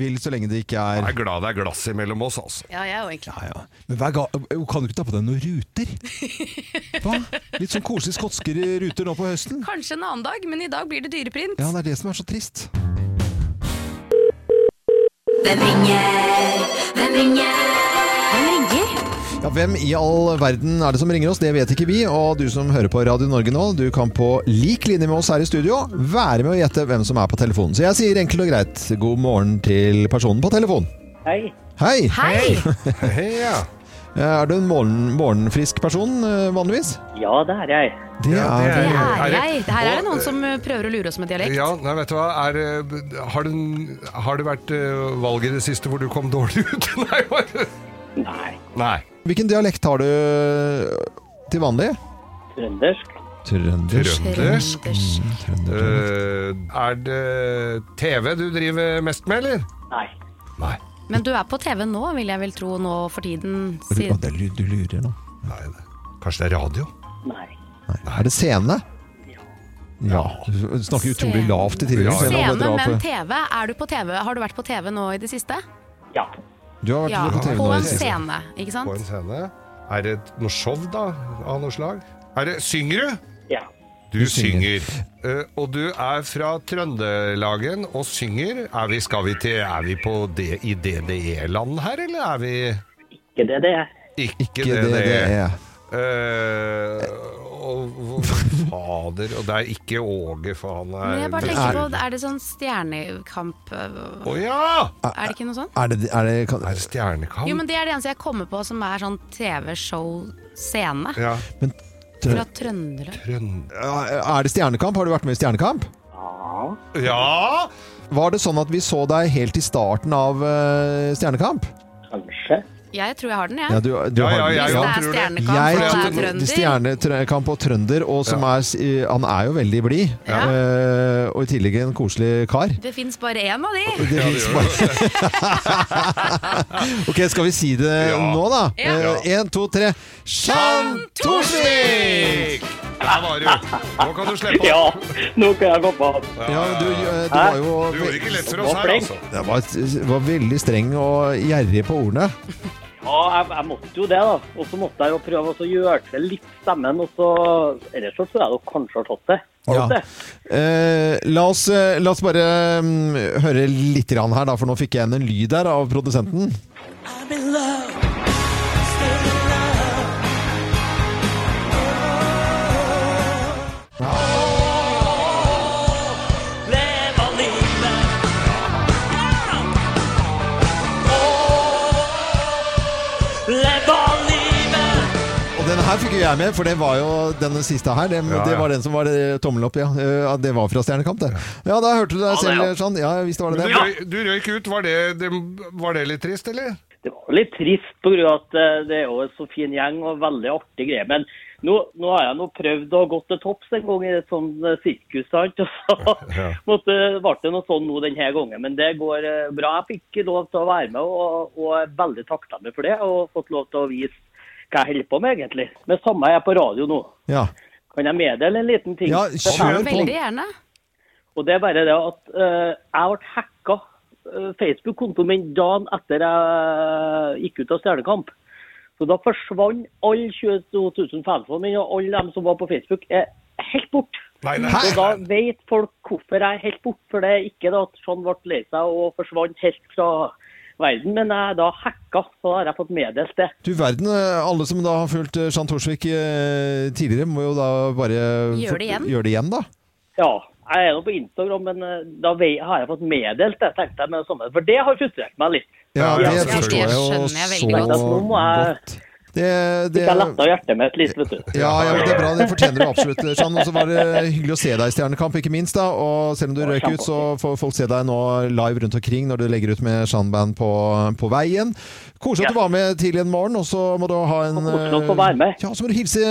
S1: vil, så lenge det ikke
S3: Jeg
S1: er
S3: er glad det er glass imellom oss, altså.
S2: Ja, jeg er jo egentlig
S1: ja, ja. Men hver ga kan du ikke ta på deg noen ruter? Hva? Litt sånn koselige skotske ruter nå på høsten?
S2: Kanskje en annen dag, men i dag blir det dyreprint.
S1: Ja, det er det som er så trist.
S4: Hvem ringer? Hvem ringer? Hvem ringer?
S1: Ja, Hvem i all verden er det som ringer oss? Det vet ikke vi. Og du som hører på Radio Norge nå, du kan på lik linje med oss her i studio være med å gjette hvem som er på telefonen. Så jeg sier enkelt og greit god morgen til personen på telefonen. Hei. Hei.
S2: Hei!
S3: Hei, ja.
S1: Er du en morgen, morgenfrisk person eh, vanligvis?
S9: Ja, det er jeg.
S1: Det
S3: Ja, det
S1: er
S2: Det
S3: Er
S2: er
S3: det-
S2: jeg. Her er det
S3: Og,
S2: noen som eh, prøver å lure oss med dialekt.
S3: Ja, nei, vet du hva er, eh, har, det, har det vært eh, valg i det siste hvor du kom dårlig ut? Nei, hva-
S9: Nei,
S3: Nei.
S1: Hvilken dialekt har du eh, til vanlig?
S9: trøndersk.
S1: Trøndersk. Mm,
S3: Trøndersk.
S2: Trøndersk.
S3: Eh, er det TV du driver mest med, eller?
S9: Nei.
S3: Nei.
S2: Men du er på TV nå, vil jeg vel tro, nå for tiden.
S1: Å,
S2: Siden.
S1: det er lyd- Du lurer nå.
S3: Nei, det- Kanskje det er radio?
S9: Nei.
S1: Nei. Er det scene? Ja. Du snakker utrolig
S2: Scene.
S1: lavt i tillegg.
S3: Ja, ja.
S1: selv om
S2: Scene,
S1: det drar på-
S2: men TV. Er du på TV? Har du vært på TV nå i det siste?
S9: Ja.
S1: Du har vært
S2: Ja,
S1: på TV
S2: på
S1: nå. i
S2: en
S1: det siste.
S2: scene, ikke
S3: På
S2: sant?
S3: en scene? Er det noe show, da? Av noe slag? Er det Synger du?
S9: Ja.
S3: Du synger. Eh, og du er fra Trøndelagen og synger. Er vi, skal vi til, er vi på det, i DDE-land her, eller er vi
S9: Ikke E. det det er.
S3: Ikke, E.
S1: Ikke det det er.
S3: Eh, og, og, fader, og det er ikke Åge, for han er
S2: Men jeg bare tenker på, Er det sånn stjernekamp øh,
S3: Å ja!
S2: Er det ikke noe sånn?
S1: Er det, er det, kan,
S3: Er det Stjernekamp?
S2: Jo, men det er det eneste jeg kommer på som er sånn TV-show-scene.
S3: Ja.
S1: men,
S2: Fra Trøndelag.
S3: Trønd...
S1: er det Stjernekamp? Har du vært med i Stjernekamp?
S9: Ja.
S3: Ja!
S1: Var det sånn at vi så deg helt i starten av eh, Stjernekamp?
S9: Kanskje.
S2: Jeg tror jeg har den, jeg.
S1: Ja, du, du
S3: Ja,
S1: har
S3: ja,
S1: den.
S3: ja,
S2: Hvis
S3: ja.
S2: det er
S3: tror det.
S2: Stjernekamp
S1: Jeg
S2: og
S1: tror
S2: det er trønder.
S1: Stjernekamp og trønder, og som er, s- i- han er jo veldig blid.
S2: Ja.
S1: eh, og i tillegg en koselig kar.
S2: Det fins bare én av de!
S1: Det finnes bare Ok, skal vi si det
S3: Ja.
S1: nå, da?
S2: Ja.
S1: Eh, En, to, tre. Jean Thorsvik!
S3: Torsvik! Der var du. Nå kan du slippe
S9: Ja,
S3: opp.
S9: nå kan jeg gå på.
S1: Ja, du, eh, du
S9: Hæ?
S1: var jo
S3: Du gjorde ikke lett for
S9: Nå
S3: oss her,
S9: flink.
S3: altså.
S1: Det var, var veldig streng og gjerrig på ordene.
S9: Ja, jeg, jeg måtte jo det, da. Og så måtte jeg jo prøve å så gjøre til litt stemmen, og så Ellers så tror jeg dere kanskje har tatt det. Har
S1: Ja.
S9: dere det?
S1: Eh, la, oss, eh, la oss bare mm, høre litt grann her, da, for nå fikk jeg igjen en lyd der av produsenten. Og den her fikk jo jeg med, for det var jo den siste her. Det,
S3: Ja,
S1: det
S3: ja.
S1: var den som var eh, tommel opp, ja. Eh, ja, Det var fra Stjernekamp, det. Ja, da hørte du deg
S9: det,
S1: selv,
S9: ja.
S1: Jean. Ja, visst var
S3: Men
S1: det
S3: Du,
S1: det.
S3: røy, du røyk ut. Var det, det, var det litt trist, eller?
S9: Det var litt trist på grunn av at eh, det er jo en så fin gjeng og veldig artig greie. Men nå, nå har jeg nå prøvd å gå til topps en gang i et sånt eh, sirkus, sant. Og så
S3: Ja.
S9: måtte, ble det noe sånn nå denne gangen. Men det går eh, bra. Jeg fikk lov til å være med og, og er veldig takknemlig for det. Og fått lov til å vise hva jeg holder på med, egentlig. Men samme jeg er på radio nå.
S1: Ja,
S9: Kan jeg meddele en liten ting?
S1: ja kjør på.
S2: Veldig gjerne.
S9: Og det er bare det at eh, jeg ble hacka eh, Facebook-kontoen min dagen etter jeg gikk ut av Stjernekamp. Så da forsvant alle 22 000 fansene mine, og alle dem som var på Facebook, er helt bort.
S3: Nei, nei.
S9: Og da vet folk hvorfor jeg er helt bort, for det er ikke da at Sean ble lei seg og forsvant helt fra verden, men jeg er da hacka, så da har jeg fått meddelt det.
S1: Du verden, eh, alle som da har fulgt eh, Jean Thorsvik eh, tidligere, må jo da bare
S2: Gjør det igjen.
S1: Gjør det igjen da.
S9: Ja, jeg er nå på Instagram, men eh, da vei- har jeg fått meddelt det, tenkte jeg med det samme. For det har frustrert meg litt.
S1: Ja,
S3: Ja,
S1: det
S3: ja,
S1: forstår
S2: det
S1: jeg jo
S2: skjønner jeg
S1: så
S2: veldig
S9: godt. Nå må jeg-
S1: godt. Det, det,
S9: Jeg letta hjertet mitt litt, vet du.
S1: ja, ja, men det er bra. Det fortjener du absolutt, Jean. Og så var det hyggelig å se deg i Stjernekamp, ikke minst. da. Og selv om du røyk ut, så får folk se deg nå live rundt omkring når du legger ut med Jean-band på, på veien. Koselig at du var med tidlig en morgen, og så må du ha en
S9: Og koselig å få være med.
S1: Ja, så må du hilse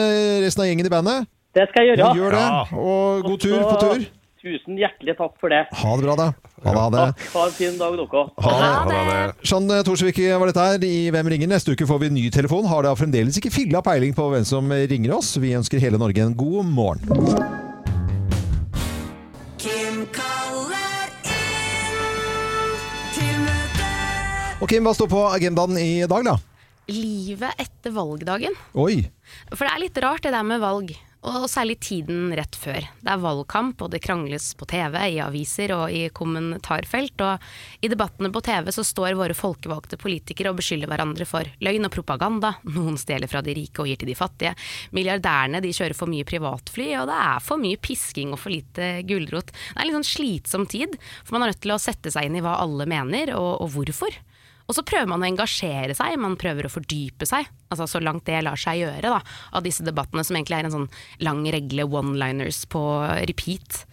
S1: resten av gjengen i bandet.
S9: Det skal jeg
S1: Ja,
S9: gjøre.
S1: gjør det.
S3: Ja.
S1: Og god tur på tur.
S9: Tusen hjertelig takk for det.
S1: Ha det bra, da. Ha det. Ha det.
S9: Takk. Ha en fin dag, dere.
S2: Ha det!
S1: Jean Thorsvik var dette her i Hvem ringer? Neste uke får vi ny telefon. Har da fremdeles ikke filla peiling på hvem som ringer oss. Vi ønsker hele Norge en god morgen.
S4: Kim kaller inn til møte.
S1: Og Kim, hva står på agendaen i dag, da?
S2: Livet etter valgdagen.
S1: Oi.
S2: For det er litt rart det der med valg. Og særlig tiden rett før. Det er valgkamp, og det krangles på TV, i aviser og i kommentarfelt. Og i debattene på TV så står våre folkevalgte politikere og beskylder hverandre for løgn og propaganda. Noen stjeler fra de rike og gir til de fattige. Milliardærene de kjører for mye privatfly, og det er for mye pisking og for lite gulrot. Det er en litt sånn slitsom tid, for man er nødt til å sette seg inn i hva alle mener, og, og hvorfor. Og så prøver man å engasjere seg, man prøver å fordype seg, altså så langt det lar seg gjøre da, av disse debattene som egentlig er en sånn lang regle one-liners på repeat.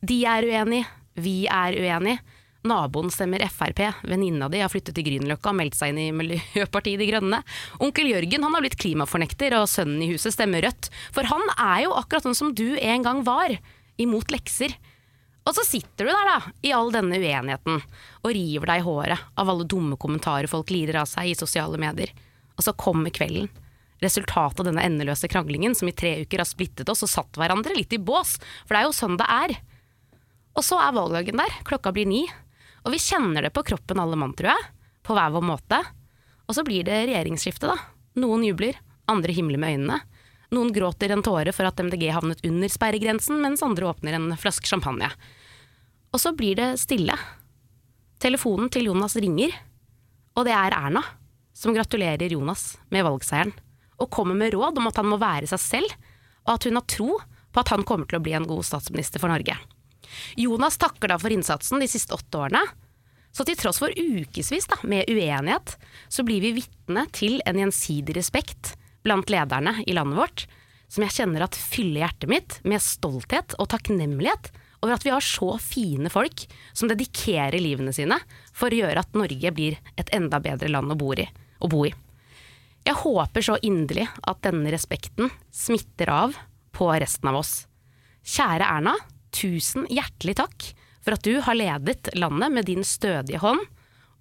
S2: De er uenige, vi er uenige. Naboen stemmer Frp, venninna di har flyttet til Grünerløkka og meldt seg inn i Miljøpartiet De Grønne. Onkel Jørgen han har blitt klimafornekter, og sønnen i huset stemmer Rødt. For han er jo akkurat sånn som du en gang var, imot lekser. Og så sitter du der, da, i all denne uenigheten, og river deg i håret av alle dumme kommentarer folk lirer av seg i sosiale medier. Og så kommer kvelden. Resultatet av denne endeløse kranglingen som i tre uker har splittet oss og satt hverandre litt i bås, for det er jo sånn det er. Og så er valgdagen der, klokka blir ni, og vi kjenner det på kroppen alle mann, tror jeg, på hver vår måte. Og så blir det regjeringsskifte, da. Noen jubler, andre himler med øynene. Noen gråter en tåre for at MDG havnet under sperregrensen, mens andre åpner en flaske champagne. Og så blir det stille. Telefonen til Jonas ringer, og det er Erna, som gratulerer Jonas med valgseieren, og kommer med råd om at han må være seg selv, og at hun har tro på at han kommer til å bli en god statsminister for Norge. Jonas takker da for innsatsen de siste åtte årene, så til tross for ukevis da, med uenighet, så blir vi vitne til en gjensidig respekt blant lederne i landet vårt, som jeg kjenner at fyller hjertet mitt med stolthet og takknemlighet over at vi har så fine folk som dedikerer livene sine for å gjøre at Norge blir et enda bedre land å bo i. Å bo i. Jeg håper så inderlig at denne respekten smitter av på resten av oss. Kjære Erna, tusen hjertelig takk for at du har ledet landet med din stødige hånd.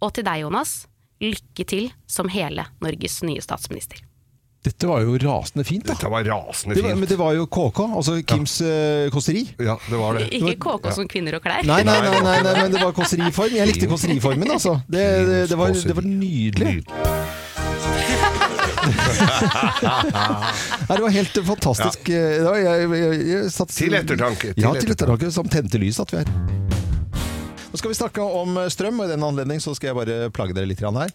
S2: Og til deg, Jonas, lykke til som hele Norges nye statsminister.
S1: Dette var jo rasende fint, da.
S3: Dette var rasende
S1: Det var, men
S3: fint.
S1: det var jo KK, altså Kims eh, kåseri.
S3: Ja, det var det.
S2: Ikke KK som kvinner og klær.
S1: Eh, Nei, nei, nei, nei, nei, men det var kåseriform. Jeg likte kåseriformen, altså. Det, det, det, var, det var nydelig. Nei, det var helt fantastisk. Det var- Jeg, jeg, jeg satt,
S3: Til ettertanke, til
S1: ja, til
S3: ettertanke.
S1: ettertanke. Som tente lys at vi er. Nå skal vi snakke om eh, strøm, og i den anledning så skal jeg bare plage dere litt grann her.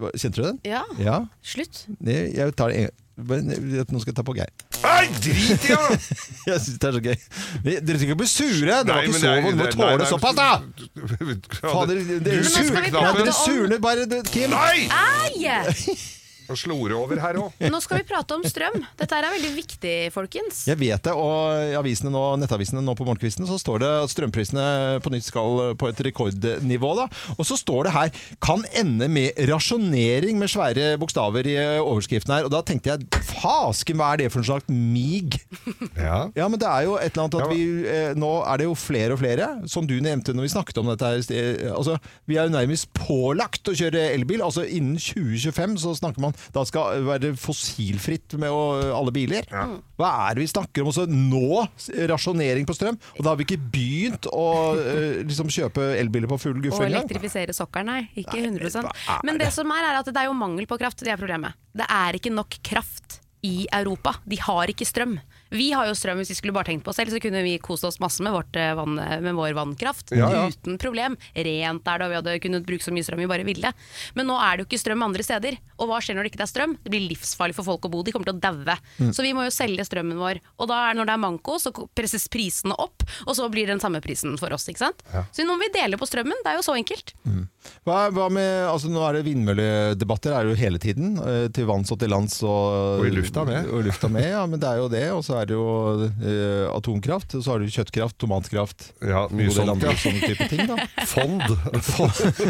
S1: Hva- Kjente du den?
S2: Ah, Ja,
S1: Ja.
S2: slutt.
S1: Jeg jeg tar det en men eh, Nå skal jeg ta på Geir.
S3: Nei, drit i det!
S1: Jeg syns det er så gøy. Dere trenger ikke å bli sure! Det var
S3: Nei, men
S1: ikke så
S3: det er-
S1: vondt. Du må
S3: det- nei,
S1: tåle
S3: nei,
S1: såpass, da! Fader,
S3: Du
S1: dere
S3: du
S2: skal
S1: surner
S2: vi
S3: surknappen.
S1: ja,
S2: prate
S1: dere
S2: om-
S1: surner bare, du, Kim.
S3: Nei!
S2: Nei!
S3: Og slår over her òg.
S2: Nå skal vi prate om strøm. Dette er veldig viktig, folkens.
S1: Jeg vet det, og i avisene nå, nettavisene nå på morgenkvisten så står det at strømprisene på nytt skal på et rekordnivå. da. Og så står det her 'kan ende med rasjonering' med svære bokstaver i overskriften her. Og da tenkte jeg fasken, hva er det for en slags mig?
S3: Ja.
S1: Ja, men det er jo et eller annet at
S3: Ja.
S1: vi eh, Nå er det jo flere og flere, som du nevnte når vi snakket om dette her. eh, Altså, vi er jo nærmest pålagt å kjøre elbil. Altså innen 2025 så snakker man Da skal eh, være fossilfritt med å, eh, alle biler. Hva er det vi snakker om? Også nå s- rasjonering på strøm. Og da har vi ikke begynt å eh, liksom kjøpe elbiler på full
S2: Og
S1: guffe engang.
S2: elektrifisere sokkelen, nei. Ikke 100
S1: hva er
S2: Men det som er, er at det er jo mangel på kraft. Det er problemet. Det er ikke nok kraft i Europa. De har ikke strøm. Vi har jo strøm, hvis vi skulle bare tenkt på oss selv, så kunne vi kost oss masse med, vårt eh, vann, med vår vannkraft.
S3: Ja, ja.
S2: Uten problem. Rent er det, og vi hadde kunnet bruke så mye strøm vi bare ville. Men nå er det jo ikke strøm andre steder. Og hva skjer når det ikke er strøm? Det blir livsfarlig for folk å bo, de kommer til å daue. Så vi må jo selge strømmen vår. Og da er når det er manko, så presses prisene opp, og så blir det den samme prisen for oss, ikke sant. Så nå må vi dele på strømmen, det er jo så enkelt.
S1: Hva, hva med, altså Nå er det vindmølledebatter er det jo hele tiden. eh, Til vanns og til lands. Og,
S3: Og i lufta med.
S1: Og i lufta med, ja, men det er jo det. Og så er det jo eh, atomkraft. Og så har du kjøttkraft, tomatkraft.
S3: Ja,
S1: en god del
S3: mye sånt,
S1: andre
S3: ja.
S1: sånne type ting. da.
S3: Fond.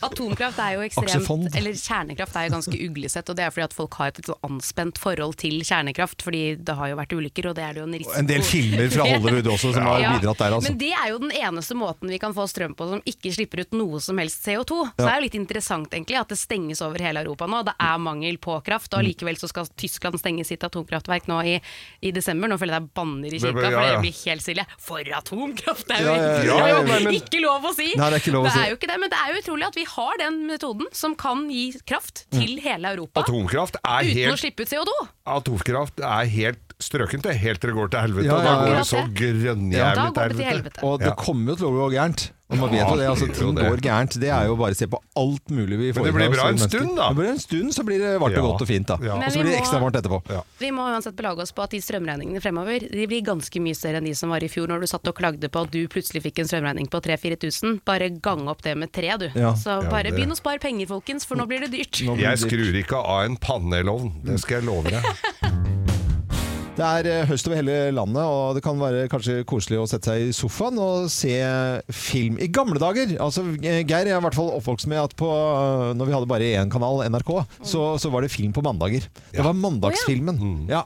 S2: Atomkraft er jo
S1: Aksjefond.
S2: ekstremt Eller kjernekraft er jo ganske uglesett, og det er fordi at folk har et litt sånn anspent forhold til kjernekraft, fordi det har jo vært ulykker, og det er det jo en risiko
S1: En del filmer fra Hollywood også som har bidratt der. altså.
S2: Men det er jo den eneste måten vi kan få strøm på som ikke slipper ut noe som helst CO2. Så det er jo litt interessant egentlig at det stenges over hele Europa nå. Det er mangel på kraft,
S1: Mm.
S2: og allikevel så skal Tyskland stenge sitt atomkraftverk nå i, i desember. Nå føler jeg det er banner i
S3: Men-
S2: kirka,
S3: men-
S2: for
S3: ja, ja.
S2: jeg blir helt stille. For atomkraft! Det er jo,
S1: Ja, ja, ja,
S2: det er
S1: ja,
S2: jo
S1: nei, men-
S2: ikke lov å si!
S1: Nei, det er ikke lov å si.
S2: jo ikke det, men det er jo utrolig at vi har den metoden som kan gi kraft til hele Europa.
S3: Atomkraft er
S2: Uten å
S3: helt
S2: slippe ut CO2!
S3: Atomkraft er helt strøkent, det. Helt til det går til helvete.
S1: Ja,
S3: og Da
S1: ja, ja.
S3: går det
S2: Akkurat
S3: så
S2: det. Da
S3: grønnjævlig
S2: går det til helvete.
S1: Og det
S3: Ja.
S1: kommer jo til å gå gærent. Og man vet jo det, altså
S3: det gjør jo
S1: Ting
S3: det.
S1: går gærent. Det er jo bare å se på alt mulig vi
S3: Men
S1: får
S3: det blir
S1: med oss
S3: bra
S1: som
S3: en
S1: mennesker.
S3: stund, da.
S1: Det blir en stund, så blir det varmt og
S3: Ja.
S1: godt og fint. da
S3: Ja.
S1: Og
S2: Men
S1: så
S2: vi
S1: blir det
S2: må-
S1: ekstra varmt etterpå.
S3: Ja.
S2: Vi må uansett belage oss på at de strømregningene fremover De blir ganske mye større enn de som var i fjor, når du satt og klagde på at du plutselig fikk en strømregning på 3000-4000. Bare gang opp det med tre, du.
S1: Ja.
S2: Så
S3: Ja,
S2: bare
S3: det-
S2: begynn å spare penger, folkens, for nå blir det dyrt.
S1: Nå blir
S3: Jeg
S1: det-
S3: skrur ikke av en pannelovn, det skal jeg love deg.
S1: Det er eh, høst over hele landet, og det kan være kanskje koselig å sette seg i sofaen og se film. I gamle dager altså eh, Geir jeg er i hvert fall oppvokst med at på, eh, når vi hadde bare én kanal, NRK, så, så var det film på mandager. Det var mandagsfilmen. Ja.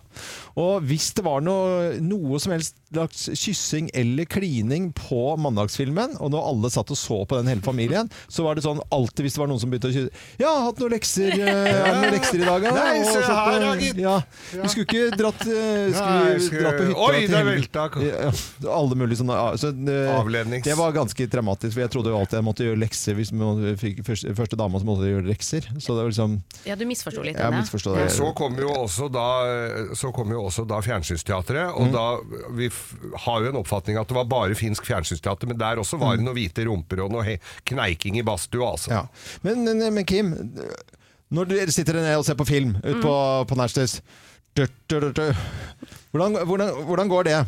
S1: Og hvis det var noe, noe som helst slags kyssing eller klining på mandagsfilmen, og når alle satt og så på den hele familien, så var det sånn alltid hvis det var noen som begynte å kysse 'Ja, har hatt noen lekser, eh, er det noen lekser i dag, ja?'
S3: Nei,
S1: Og
S3: se
S1: satt og-
S3: her, ja, gitt.
S1: ja. Vi skulle ikke dratt, eh, skulle
S3: Nei, skulle-
S1: dratt på hytta
S3: Oi,
S1: til
S3: der
S1: helvete.
S3: velta k-
S1: Ja, ja. Alle mulige sånne ja, så, eh,
S3: Avlednings.
S1: Det var ganske dramatisk, for jeg trodde jo alltid jeg måtte gjøre lekser hvis man fikk første, første dama som måtte gjøre lekser. Så det var liksom
S2: Ja, du misforsto litt.
S1: Jeg
S2: Anne.
S1: misforstod
S3: Men
S1: det.
S3: så kom jo også da, så kom jo også da fjernsynsteatret,
S1: Mm.
S3: og da Vi f har jo en oppfatning at det var bare finsk fjernsynsteater, men der også
S1: Mm.
S3: var det noen hvite rumper og noe he kneiking i badstua, altså.
S1: Ja. Men, men, men Kim, når dere sitter ned og ser på film ute på,
S2: Mm.
S1: på Nashtes hvordan, hvordan, hvordan går det?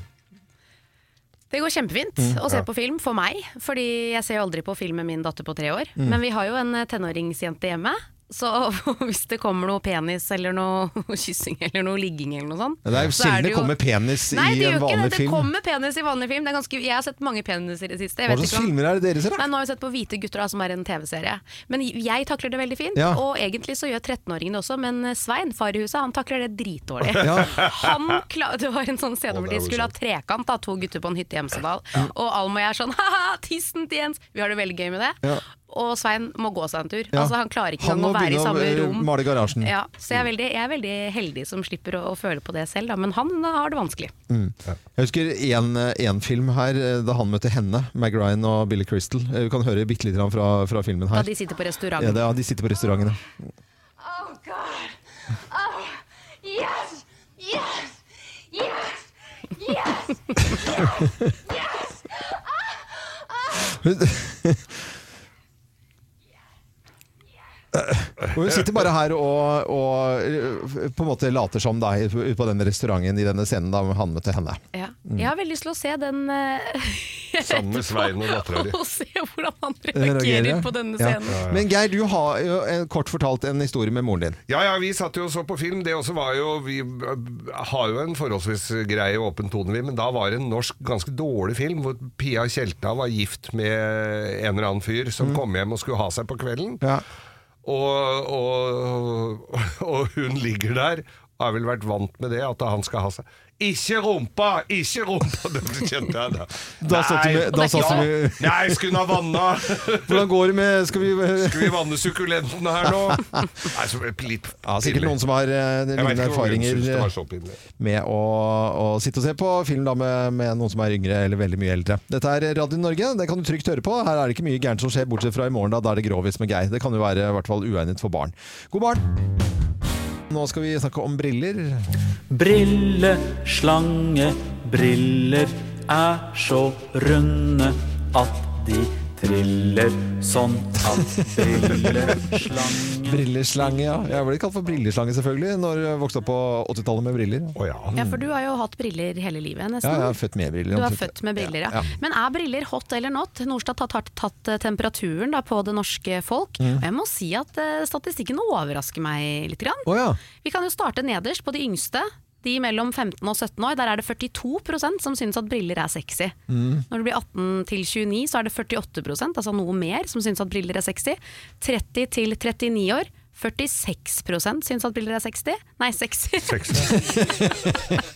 S2: Det går kjempefint
S1: Mm,
S2: å se på film for meg, fordi jeg ser jo aldri på film med min datter på tre år.
S1: Mm.
S2: Men vi har jo en eh, tenåringsjente hjemme, så hvis det kommer noe penis eller noe kyssing eller noe ligging eller noe sånt
S1: Det er jo
S2: så
S1: sjelden det
S2: jo-
S1: kommer penis
S2: Nei,
S1: i en
S2: det gjør ikke det.
S1: vanlig
S2: Det
S1: film.
S2: kommer penis i vanlig film. Det er ganske, jeg har sett mange peniser i det siste. Jeg
S1: Hva
S2: vet
S1: slags
S2: ikke om-
S1: filmer er det dere ser, da?
S2: Nei, nå har vi sett på Hvite gutter, da, som er en TV-serie. Men jeg takler det veldig fint,
S1: Ja.
S2: og egentlig så gjør 13-åringene også, men Svein, far i huset, han takler det dritdårlig.
S1: Ja.
S2: Han kla- det var en sånn scene hvor de skulle ha trekant, da, to gutter på en hytte i Hemsedal, og Alm og jeg er sånn ha-ha, tissen til Jens! Vi har det veldig gøy med det.
S1: Ja.
S2: Og Svein må gå seg en tur.
S1: Ja.
S2: Altså, han klarer ikke
S1: Han
S2: engang å
S1: må
S2: være i
S1: begynne å,
S2: samme
S1: eh,
S2: rom.
S1: male garasjen.
S2: Ja, så jeg er, veldig, jeg er veldig heldig som slipper å, å føle på det selv, da. men han har det vanskelig.
S1: Jeg husker en, en film her eh, da han møtte henne, Meg Ryan og Billy Crystal. Eh, Vi kan høre bitte litt grann fra, fra filmen
S2: Da
S1: her.
S2: de sitter på
S1: Ja,
S2: restauranten.
S1: det, ja, de sitter på restauranten. ja.
S4: Oh God! Oh yes! Yes! Yes! Yes!
S1: Hun Og hun sitter bare her og, og eh, på en måte later som da, ute på denne restauranten i denne scenen da han møtte henne.
S2: Ja.
S1: Mm.
S2: Jeg har veldig lyst til å se den eh,
S3: Sammen med Svein og dattera di.
S2: og se hvordan han
S1: Reagerer,
S2: reagerer
S1: ja.
S2: på denne
S1: Ja.
S2: scenen.
S1: Men Geir, du har jo eh, kort fortalt en historie med moren din.
S3: Ja, ja, vi satt jo og så på film. Det også var jo Vi øh, har jo en forholdsvis grei og åpen tone, vi, men da var det en norsk ganske dårlig film hvor Pia Tjelta var gift med en eller annen fyr som
S1: Mm.
S3: kom hjem og skulle ha seg på kvelden.
S1: Ja.
S3: Og, og, og hun ligger der og har vel vært vant med det, at han skal ha seg Ikke rumpa! Ikke rumpa! Det kjente jeg da.
S1: Da satt du med- da
S3: Nei,
S1: satt du
S3: ja.
S1: med-
S3: Nei, skulle hun ha vanna?
S1: Hvordan går det med Skal vi
S3: Skal vi vanne sukkulenten her nå? Nei, så ble det litt
S1: ja, Sikkert noen som har eh,
S3: Jeg vet
S1: lignende
S3: ikke om hun
S1: erfaringer.
S3: synes det
S1: eh,
S3: var så pinlig.
S1: med å, å sitte og se på film da, med, med noen som er yngre eller veldig mye eldre. Dette er Radio Norge, det kan du trygt høre på. Her er det ikke mye gærent som skjer, bortsett fra i morgen, da, da er det grovis med Geir. Det kan jo være i hvert fall uegnet for barn. God morgen! Nå skal vi snakke om briller.
S10: Brille, slange, briller er så runde at de triller sånn at brille, slange
S1: Brilleslange, ja. Jeg ble kalt for brilleslange, selvfølgelig, når jeg vokste opp på 80-tallet med briller.
S3: Å ja.
S2: Ja, for du har jo hatt briller hele livet,
S1: Ja,
S2: nesten.
S1: jeg er født med briller.
S2: Du er
S1: omtrent.
S2: født med briller, ja.
S1: Ja,
S2: Men er briller hot eller not? Norstad har tatt, tatt eh, temperaturen da, på det norske folk.
S1: Mm.
S2: Og jeg må si at eh, statistikken overrasker meg litt. Grann.
S1: Å ja.
S2: Vi kan jo starte nederst på de yngste. De mellom 15 og 17 år, der er det 42 som syns at briller er sexy.
S1: Mm.
S2: Når du blir 18 til 29, så er det 48 altså noe mer, som syns at briller er sexy. 30 til 39 år, 46 syns at briller er 60. Nei, 60.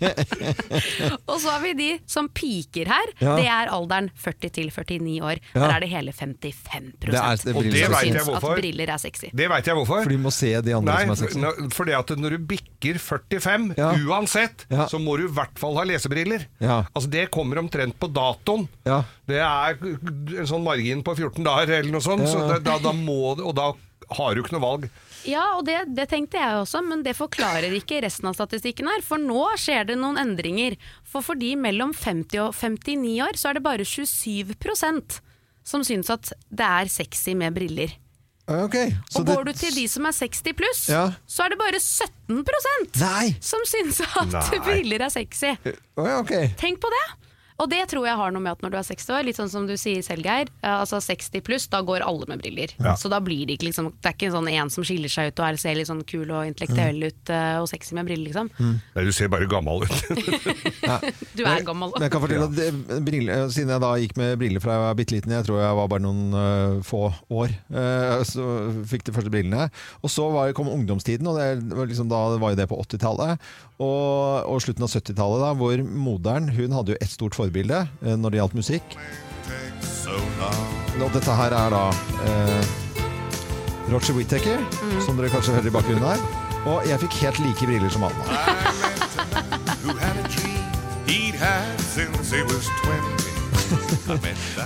S2: Og så har vi de som piker her.
S1: Ja.
S2: Det er alderen 40 til 49 år. Der er det hele 55
S1: Det er- altså det er
S2: som
S1: briller
S3: som er
S2: syns
S3: sexy.
S2: at
S3: hvorfor.
S2: briller er sexy.
S3: Det veit jeg hvorfor.
S1: For de må se de andre
S3: Nei,
S1: som er sexy.
S3: nå- fordi at når du bikker 45,
S1: Ja.
S3: uansett,
S1: Ja.
S3: så må du i hvert fall ha lesebriller.
S1: Ja.
S3: Altså Det kommer omtrent på datoen.
S1: Ja.
S3: Det er en sånn margin på 14 dager eller noe sånt,
S1: Ja, ja.
S3: Så da, da må, og da har du ikke noe valg.
S2: Ja, og det, det tenkte jeg også, men det forklarer ikke resten av statistikken her. For nå skjer det noen endringer. For for de mellom 50 og 59 år, så er det bare 27 som syns at det er sexy med briller.
S1: Ok, så
S2: Og
S1: det-
S2: går du til de som er 60 pluss,
S1: Ja.
S2: så er det bare 17
S1: Nei!
S2: som syns at
S3: Nei.
S2: briller er sexy.
S1: Å ja, ok.
S2: Tenk på det! Og det tror jeg har noe med at når du er 60 år, litt sånn som du sier selv, Geir, eh, altså 60 pluss, da går alle med briller. Så da blir det ikke liksom Det er ikke sånn en som skiller seg ut og er, ser litt sånn kul og intellektuell
S1: Mm.
S2: ut eh, og sexy med briller, liksom.
S3: Nei, du ser bare gammel ut.
S2: Du er gammel.
S1: Men jeg kan fortelle at det, briller, siden jeg da gikk med briller fra jeg var bitte liten, jeg tror jeg var bare noen øh, få år, øh, så fikk de første brillene. Og så var, kom ungdomstiden, og det var, liksom, da var jo det på 80-tallet. Og, og slutten av 70-tallet, da, hvor moderen hun hadde jo ett stort forbilde øh, når det gjaldt musikk. Og dette her er da øh, Roger Whittaker,
S2: Mm.
S1: som dere kanskje hører i bakgrunnen her. Og jeg fikk helt like briller som han.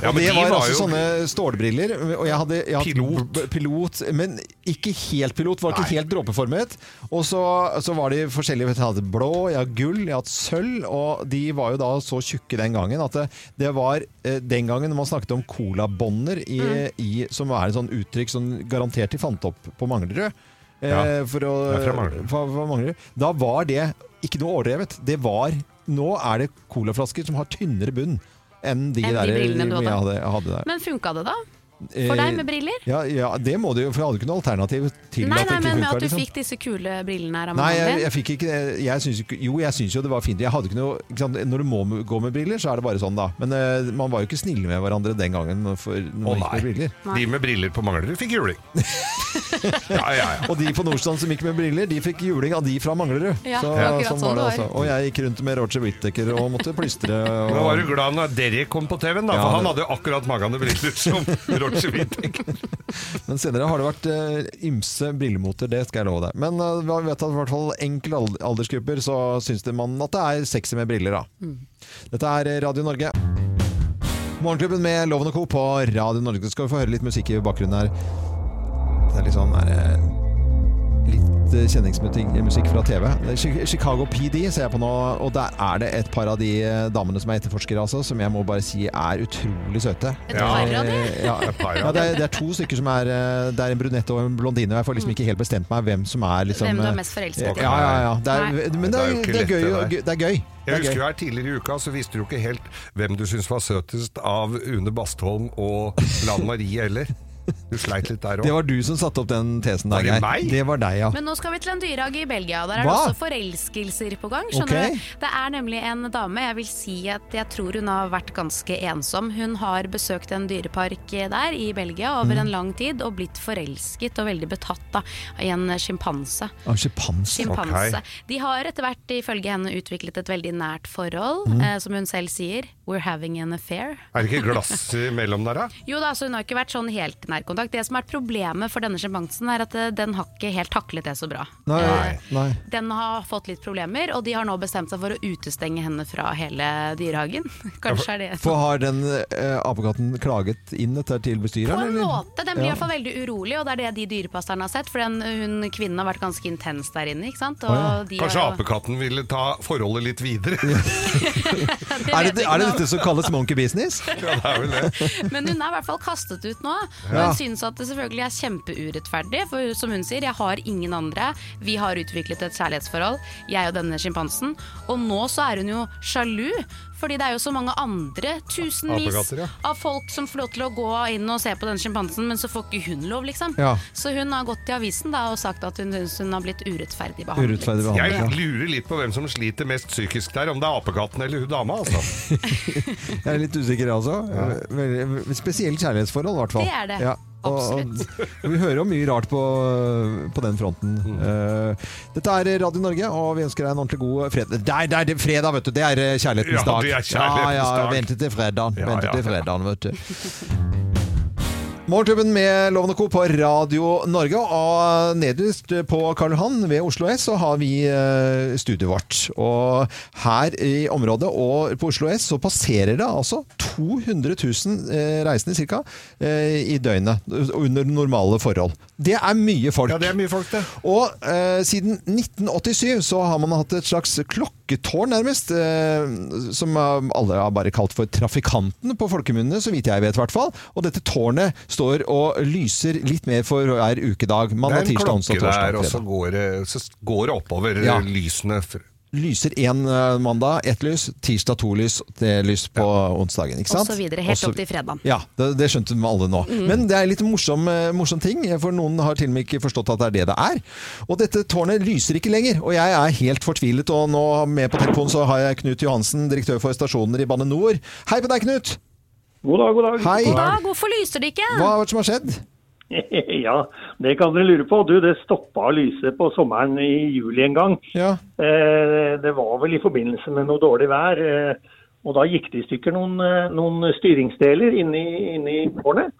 S3: Ja,
S1: Og
S3: men
S1: det
S3: de
S1: var,
S3: var
S1: altså
S3: jo-
S1: sånne stålbriller. Og jeg hadde, jeg hadde
S3: Pilot.
S1: b- pilot. Men ikke helt pilot. Var ikke helt dråpeformet. Og så, så var de forskjellige. vet du, Jeg hadde blå, jeg hadde gull, jeg hadde sølv. Og de var jo da så tjukke den gangen at det, det var eh, den gangen man snakket om colabånder, i,
S3: Mm.
S1: i, som er et sånn uttrykk som garantert de fant opp på Manglerud. Eh,
S3: Ja,
S1: for å,
S3: det er fra Manglerud.
S1: fra- fra Manglerud. Da var det ikke noe overdrevet. Det var Nå er det colaflasker som har tynnere bunn. Enn de,
S2: Enn de
S1: der
S2: brillene du hadde.
S1: jeg hadde, jeg hadde der.
S2: Men funka det da?
S1: Eh,
S2: For deg med briller?
S1: Ja, ja det må du jo, for jeg hadde ikke noe alternativ til
S2: Nei,
S1: at det
S2: nei,
S1: ikke
S2: men med
S1: funka,
S2: at du
S1: liksom.
S2: fikk disse kule brillene her av
S1: Nei, jeg,
S2: mammaen din.
S1: jeg fikk ikke det. jeg syns, ikke- Jo, jeg syns jo det var fint. Jeg hadde ikke noe, ikke sant? Når du må gå med briller, så er det bare sånn, da. Men eh, man var jo ikke snille med hverandre den gangen for, når man
S3: Å,
S1: gikk med
S3: nei.
S1: briller.
S3: De med briller på Manglerud fikk juling. Ja, ja, ja.
S1: Og de på Nordstrand som gikk med briller, de fikk juling av de fra Manglerud.
S2: Ja, akkurat sånn det var.
S1: Og jeg gikk rundt med Roger Whittaker og måtte plystre. Og...
S3: Nå var du glad når Derek kom på TV-en, da,
S1: Ja,
S3: for han
S1: det-
S3: hadde jo akkurat magene briller som Roger Whittaker.
S1: Men senere har det vært eh, ymse brillemoter, det skal jeg love deg. Men eh, vi vet at i hvert fall enkelte ald- aldersgrupper så syns det man at det er sexy med briller, da. Dette er eh, Radio Norge. Morgenklubben med Loven og Co. på Radio Norge. Skal vi få høre litt musikk i bakgrunnen her. Det er litt sånn der, eh, litt eh, kjenningsmusikk musikk fra TV. Det er Chi- Chicago PD ser jeg på nå, og der er det et par av de eh, damene som er etterforskere, altså, som jeg må bare si er utrolig søte.
S2: Et par av de?
S1: Eh, ja,
S3: par, ja.
S1: ja, det, er, det er to stykker som er eh, Det er en brunette og en blondine, og jeg får liksom ikke helt bestemt meg hvem som er liksom
S2: Hvem du er
S1: eh,
S2: mest forelsket i.
S1: Ja, ja, ja. Det
S2: Nei.
S1: er, men det er,
S3: Nei, det er jo
S1: det
S3: ikke
S1: er gøy.
S3: lett, det
S1: og gøy- Det er gøy. Det
S3: Jeg
S1: er
S3: husker jo
S1: gøy.
S3: her tidligere i uka, så visste du ikke helt hvem du syntes var søtest av Une Bastholm og Lan Marie heller. Du sleit litt der
S1: Det
S3: òg.
S1: var du som satte opp den tesen der,
S3: Var det meg?
S1: Det var deg, ja.
S2: Men nå skal vi til en dyrehage i Belgia, og der er
S1: Hva?
S2: det også forelskelser på gang. skjønner
S1: Ok.
S2: du? Det er nemlig en dame, jeg vil si at jeg tror hun har vært ganske ensom. Hun har besøkt en dyrepark der i Belgia over
S1: Mm.
S2: en lang tid og blitt forelsket og veldig betatt da, i en sjimpanse.
S1: Ah, Sjimpanse.
S2: Sjimpanse.
S3: Ok.
S2: De har etter hvert ifølge henne utviklet et veldig nært forhold,
S1: Mm.
S2: eh, som hun selv sier. We're having an affair.
S3: Er det ikke glass imellom der, da?
S2: Jo da, så hun har ikke vært sånn helt nærkontakt. Det som er problemet for denne sjimpansen, er at eh, den har ikke helt taklet det så bra.
S1: Nei,
S2: Eh,
S1: nei.
S2: Den har fått litt problemer, og de har nå bestemt seg for å utestenge henne fra hele dyrehagen. Kanskje er det
S1: For har den eh, apekatten klaget inn dette til
S2: På
S1: bestyreren?
S2: en
S1: eller?
S2: måte! Den blir i
S1: Ja.
S2: hvert fall veldig urolig, og det er det de dyrepasserne har sett. For den hun, kvinnen har vært ganske intens der inne, ikke sant. Og
S1: Å ja.
S2: de
S3: Kanskje
S2: har-
S3: apekatten ville ta forholdet litt videre?
S2: Det
S1: Er
S2: vet
S1: det,
S2: jeg ikke
S1: er det
S2: noe om.
S1: dette som kalles monkey business?
S3: Ja, det er vel det.
S2: Men hun er i hvert fall kastet ut nå. Og
S1: Ja.
S2: hun synes at det selvfølgelig er kjempeurettferdig. For som hun sier, jeg har ingen andre. Vi har utviklet et kjærlighetsforhold, jeg og denne sjimpansen. Og nå så er hun jo sjalu. Fordi det er jo så mange andre, tusenvis
S3: Apekatter, ja.
S2: av folk som får lov til å gå inn og se på denne sjimpansen, men så får ikke hun lov, liksom.
S1: Ja.
S2: Så hun har gått til avisen da og sagt at hun synes hun har blitt urettferdig behandlet.
S1: Urettferdig
S3: Jeg
S1: behandling.
S3: lurer litt på hvem som sliter mest psykisk der, om det er apekatten eller hun dama, altså.
S1: Ja. Jeg er litt usikker, jeg også. Veldig- Spesielt kjærlighetsforhold, i hvert fall.
S2: Det er det.
S1: Ja.
S2: Absolutt.
S1: Og, og vi hører jo mye rart på, på den fronten.
S3: Mm.
S1: Eh, dette er Radio Norge, og vi ønsker deg en ordentlig god fredag. Der, der, det er fredag, vet du! Det er eh, kjærlighetens
S3: Ja,
S1: dag.
S3: det er
S1: ja,
S3: kjærlighetens
S1: ja,
S3: dag.
S1: Vente til fredagen.
S3: Ja,
S1: vente
S3: ja,
S1: til
S3: ja.
S1: fredagen, vet du. Morgenklubben med Loven og Co. på Radio Norge. Og nederst på Karl Johan ved Oslo S så har vi eh, studioet vårt. Og her i området og på Oslo S så passerer det altså 200 000 eh, reisende ca. i døgnet. Under normale forhold. Det er mye folk.
S11: Ja, det er mye folk, det.
S1: Og eh, siden 1987 så har man hatt et slags klokketårn nærmest, eh, som eh, alle har bare kalt for trafikanten på folkemunne, så vidt jeg vet i hvert fall. Og dette tårnet står og lyser litt mer for hver ukedag.
S3: Det er
S1: Mandag,
S3: en
S1: tirsdag,
S3: klokke
S1: onsdag, torsdag,
S3: der, og så
S1: fredag.
S3: går det, så går det oppover
S1: Ja.
S3: lysene. fr-
S1: Lyser én eh, mandag, ett lys. Tirsdag to lys, tre lys på onsdagen. ikke
S2: Og
S1: sant?
S2: så videre, helt
S1: Også-
S2: opp til fredagen.
S1: Ja, det, det skjønte vi alle nå. Men det er litt morsom, eh, morsom ting, for noen har til og med ikke forstått at det er det det er. Og dette tårnet lyser ikke lenger, og jeg er helt fortvilet. Og nå med på telefonen så har jeg Knut Johansen, direktør for stasjoner i Bane Nor. Hei på deg, Knut!
S9: God dag, god dag.
S1: Hei!
S2: God dag, hvorfor lyser det ikke?
S1: Hva er det som har skjedd?
S9: Ja, det kan dere lure på. Du, det stoppa å lyse på sommeren i juli en gang.
S1: Ja,
S9: Eh, Det var vel i forbindelse med noe dårlig vær. eh, Og da gikk det i stykker noen, eh, noen styringsdeler inni, inni tårnet.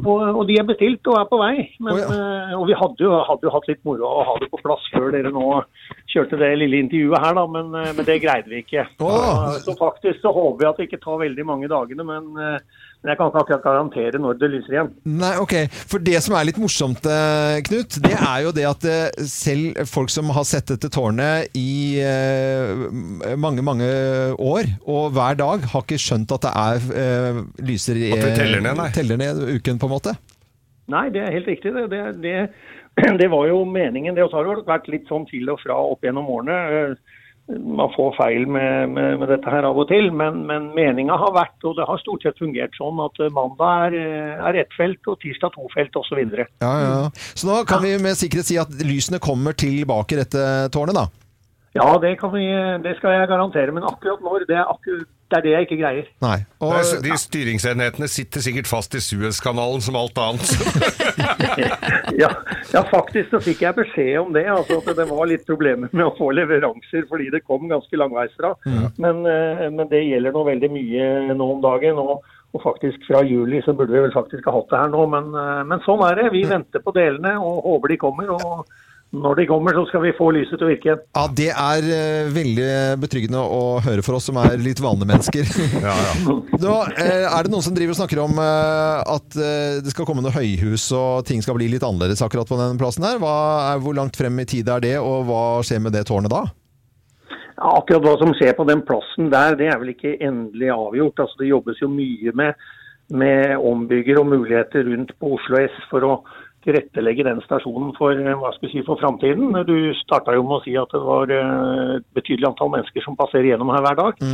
S9: Og, og de er bestilt og er på vei. Men,
S1: Å,
S9: eh, Og vi hadde jo, hadde jo hatt litt moro av å ha det på plass før dere nå kjørte det lille intervjuet her, da. Men, eh, men det greide vi ikke.
S1: Å.
S9: Så faktisk så håper vi at det ikke tar veldig mange dagene. Men, eh, men jeg kan ikke akkurat garantere når det lyser igjen.
S1: Nei, ok. For det som er litt morsomt, eh, Knut, det er jo det at eh, selv folk som har sett dette tårnet i eh, m- mange, mange år, og hver dag, har ikke skjønt at det er eh, lyser i
S3: At det teller ned, nei.
S1: teller ned uken, på en måte.
S9: Nei, det er helt riktig. Det, det, det, det var jo meningen. Det Og så har det vært litt sånn til og fra opp gjennom årene. Eh, Man får feil med, med, med dette her av og til, men, men meninga har vært, og det har stort sett fungert sånn, at eh, mandag er, eh, er ett felt og tirsdag to felt osv.
S1: Ja, ja. ja. Så nå kan vi med sikkerhet si at lysene kommer tilbake i dette tårnet, da.
S9: Ja, det, kan vi, det skal jeg garantere, men akkurat når, det er, akkur, det, er det jeg ikke greier.
S1: Nei. Og,
S3: Det er- De styringsenhetene sitter sikkert fast i Suezkanalen som alt annet.
S9: Ja, ja, faktisk så fikk jeg beskjed om det. Altså, at det var litt problemer med å få leveranser fordi det kom ganske langveisfra. Men, eh, men det gjelder nå veldig mye nå om dagen. Og, og faktisk fra juli så burde vi vel faktisk ha hatt det her nå. Men, eh, men sånn er det. Vi venter på delene og håper de kommer. Og når de kommer så skal vi få lyset til å virke igjen.
S1: ja, det er eh, veldig betryggende å høre for oss som er litt vanlige mennesker.
S3: Ja, ja.
S1: Nå eh, er det noen som driver og snakker om eh, at eh, det skal komme noe høyhus og ting skal bli litt annerledes akkurat på den plassen her. Hva er, hvor langt frem i tid er det, og hva skjer med det tårnet da?
S9: Ja, Akkurat hva som skjer på den plassen der, det er vel ikke endelig avgjort. Altså, det jobbes jo mye med, med ombygger og muligheter rundt på Oslo S for å tilrettelegge den stasjonen for, eh, hva skal vi si, for framtiden. Du starta jo med å si at det var eh, et betydelig antall mennesker som passerer gjennom her hver dag.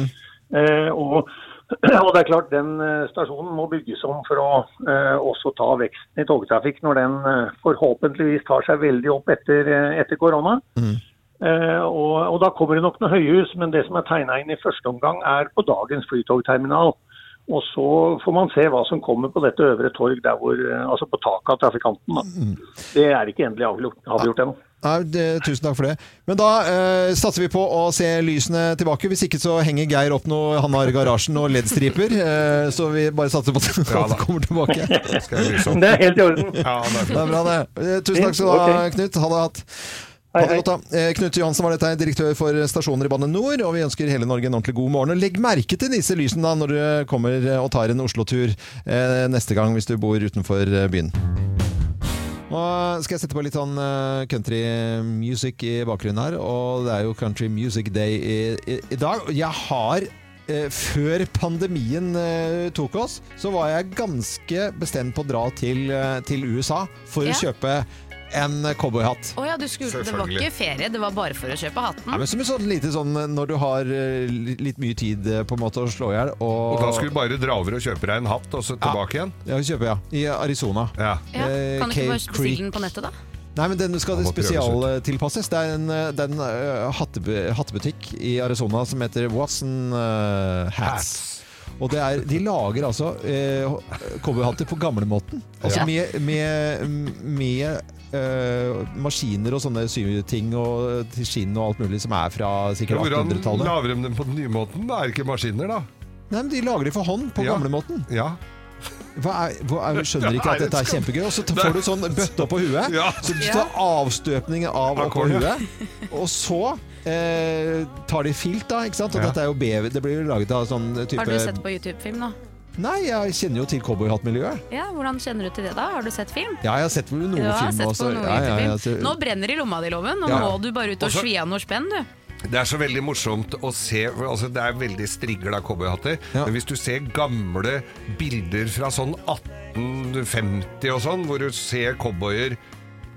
S9: Eh, og, og det er klart den eh, stasjonen må bygges om for å eh, også ta veksten i togtrafikk når den eh, forhåpentligvis tar seg veldig opp etter, eh, etter korona. Eh, og, og da kommer det nok noe høyhus, men det som er tegna inn i første omgang er på dagens flytogterminal. Og så får man se hva som kommer på dette øvre torg, der hvor, eh, altså på taket av trafikanten. Da. Det er ikke endelig avgjort, avgjort ennå.
S1: Nei, det, tusen takk for det. Men da eh, satser vi på å se lysene tilbake. Hvis ikke så henger Geir opp noe han har i garasjen og LED-striper. Eh, så vi bare satser på at
S3: Ja,
S1: det
S3: da.
S1: kommer tilbake.
S3: Skal jeg lyse opp?
S9: Det er helt i orden.
S3: Ja, det er
S1: Det er bra, det. Eh, Tusen takk skal du ha, Knut. Ha det hatt. Ha
S9: Hei,
S1: det
S9: hei.
S1: godt, da. Eh, Knut Johansen var dette, her, direktør for stasjoner i Bane Nor, og vi ønsker hele Norge en ordentlig god morgen. Og legg merke til disse lysene da, når du kommer og tar en Oslo-tur eh, neste gang, hvis du bor utenfor eh, byen. Nå skal jeg sette på litt sånn eh, country music i bakgrunnen her, og det er jo Country Music Day i, i, i dag. Jeg har eh, før pandemien eh, tok oss, så var jeg ganske bestemt på å dra til, eh, til USA for
S2: Ja.
S1: å kjøpe en cowboyhatt.
S2: Å ja, du skulle, det var ikke ferie, det var bare for å kjøpe
S1: Nei,
S2: hatten.
S1: men som en sånn lite sånn eh, når du har eh, li- litt mye tid eh, på en måte å slå i hjel.
S3: Og da skal du bare dra over og kjøpe deg en hatt, og så tilbake igjen?
S1: ja, kjøpe, ja. I Arizona.
S3: Ja.
S2: Ja,
S1: Eh,
S2: kan du
S1: Cave
S2: ikke bare
S1: Creek.
S2: bestille den på nettet, da?
S1: Nei, men den skal
S3: må prøves
S1: spesialtilpasses. Det er en, eh, det er en eh, hattebe- hattebutikk i Arizona som heter Watson eh, Hats. Og det er, de lager altså eh, cowboyhatter på gamlemåten. Altså
S2: Ja.
S1: med, med, med eh, maskiner og sånne syting og til skinn og alt mulig som er fra sikkert
S3: Hvordan
S1: 1800-tallet.
S3: lager de dem på den nye måten? Det er ikke maskiner, da.
S1: Nei, men De lager det for hånd på
S3: Ja.
S1: gamlemåten.
S3: Ja.
S1: Hva er- hva er- Jeg skjønner ikke at dette er kjempegøy. Og så t- får du sånn bøtte oppå huet.
S3: Ja.
S1: Så du tar avstøpningen av
S3: Av
S1: oppå
S3: kornet.
S1: huet. Og så eh, tar de filt, da. ikke sant? Og
S3: Ja.
S1: dette er jo bever. Det blir jo laget av sånn type
S2: Har du sett på YouTube-film nå?
S1: Nei, jeg kjenner jo til cowboyhattmiljøet.
S2: Ja, Hvordan kjenner du til det da? Har du sett film?
S1: Ja, jeg har sett noen
S2: Du har
S1: filmer
S2: sett
S1: også.
S2: på noe
S1: Ja, ja, ja,
S2: YouTube-film. Nå
S1: så-
S2: brenner det i lomma di, Loven. Nå
S1: Ja.
S2: må du bare ut og
S3: Også-
S2: svi av noe spenn, du.
S3: Det er så veldig morsomt å se for altså Det er veldig strigla cowboyhatter.
S1: Ja.
S3: Men hvis du ser gamle bilder fra sånn 1850 og sånn, hvor du ser cowboyer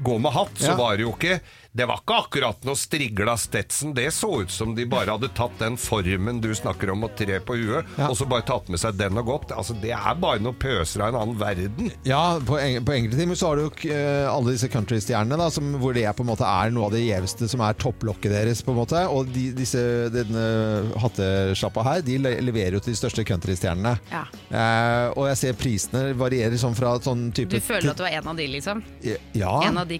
S3: gå med hatt, så
S1: Ja.
S3: var det jo ikke Det var ikke akkurat noe strigla Stetson. Det så ut som de bare hadde tatt den formen du snakker om, og tre på huet,
S1: Ja.
S3: og så bare tatt med seg den og gått. Altså, det er bare noe pøser av en annen verden.
S1: ja på, en, på enkelte timer så har du jo k- eh, alle disse countrystjernene, da, som, hvor det er på en måte er noe av det gjeveste som er topplokket deres. på en måte. Og de, disse, denne hattesjappa her, de le- leverer jo til de største countrystjernene.
S2: Ja.
S1: Eh, og jeg ser prisene varierer sånn fra sånn type
S2: Du føler at du er en av de, liksom?
S1: Ja.
S2: En av de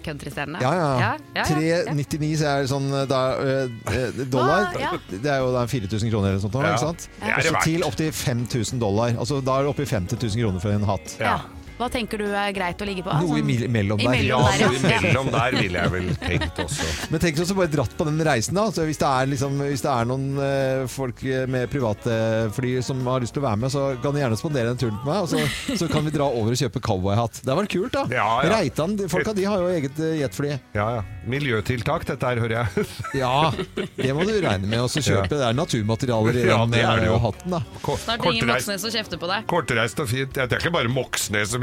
S1: Ah.
S2: countrystjernene?
S1: Ja, ja.
S2: ja, ja, ja, ja.
S1: 3,99 så er det sånn eh, da, eh, eh, dollar.
S2: Hva? Ah, Ja.
S1: Det er jo da 4000 kroner eller sånt. nå,
S3: Ja.
S1: Ikke sant?
S3: Det er det
S1: Og så
S3: verdt.
S1: til opptil 5000 dollar. Altså, da er det oppi 50 000 kroner for en hatt.
S2: Ja. Hva tenker du er greit å ligge på? Altså,
S1: Noe imell- imellom der.
S3: Ja,
S2: Imellom der,
S3: så
S2: ja.
S3: imellom der ville jeg vel tenkt også.
S1: Men tenk deg å bare dratt på den reisen, da. Så hvis, det er liksom, hvis det er noen eh, folk med privatfly som har lyst til å være med, så kan de gjerne spandere den turen på meg. Og så, så kan vi dra over og kjøpe cowboyhatt. Det hadde vært kult, da.
S3: Ja, ja.
S1: Reitan, de- folka de har jo eget eh, jetfly.
S3: Ja, ja. Miljøtiltak, dette her, hører jeg.
S1: Ja, det må du regne med. Og så kjøpe. Det er naturmaterialer i
S3: Ja,
S1: den
S3: det er det
S1: eh,
S3: jo.
S1: hatten, da.
S3: Kort-
S2: Snart ringer
S3: kortreist.
S2: Moxnes og kjefter på deg.
S3: Kortreist og fint. Ja, Det er ikke bare Moxnes som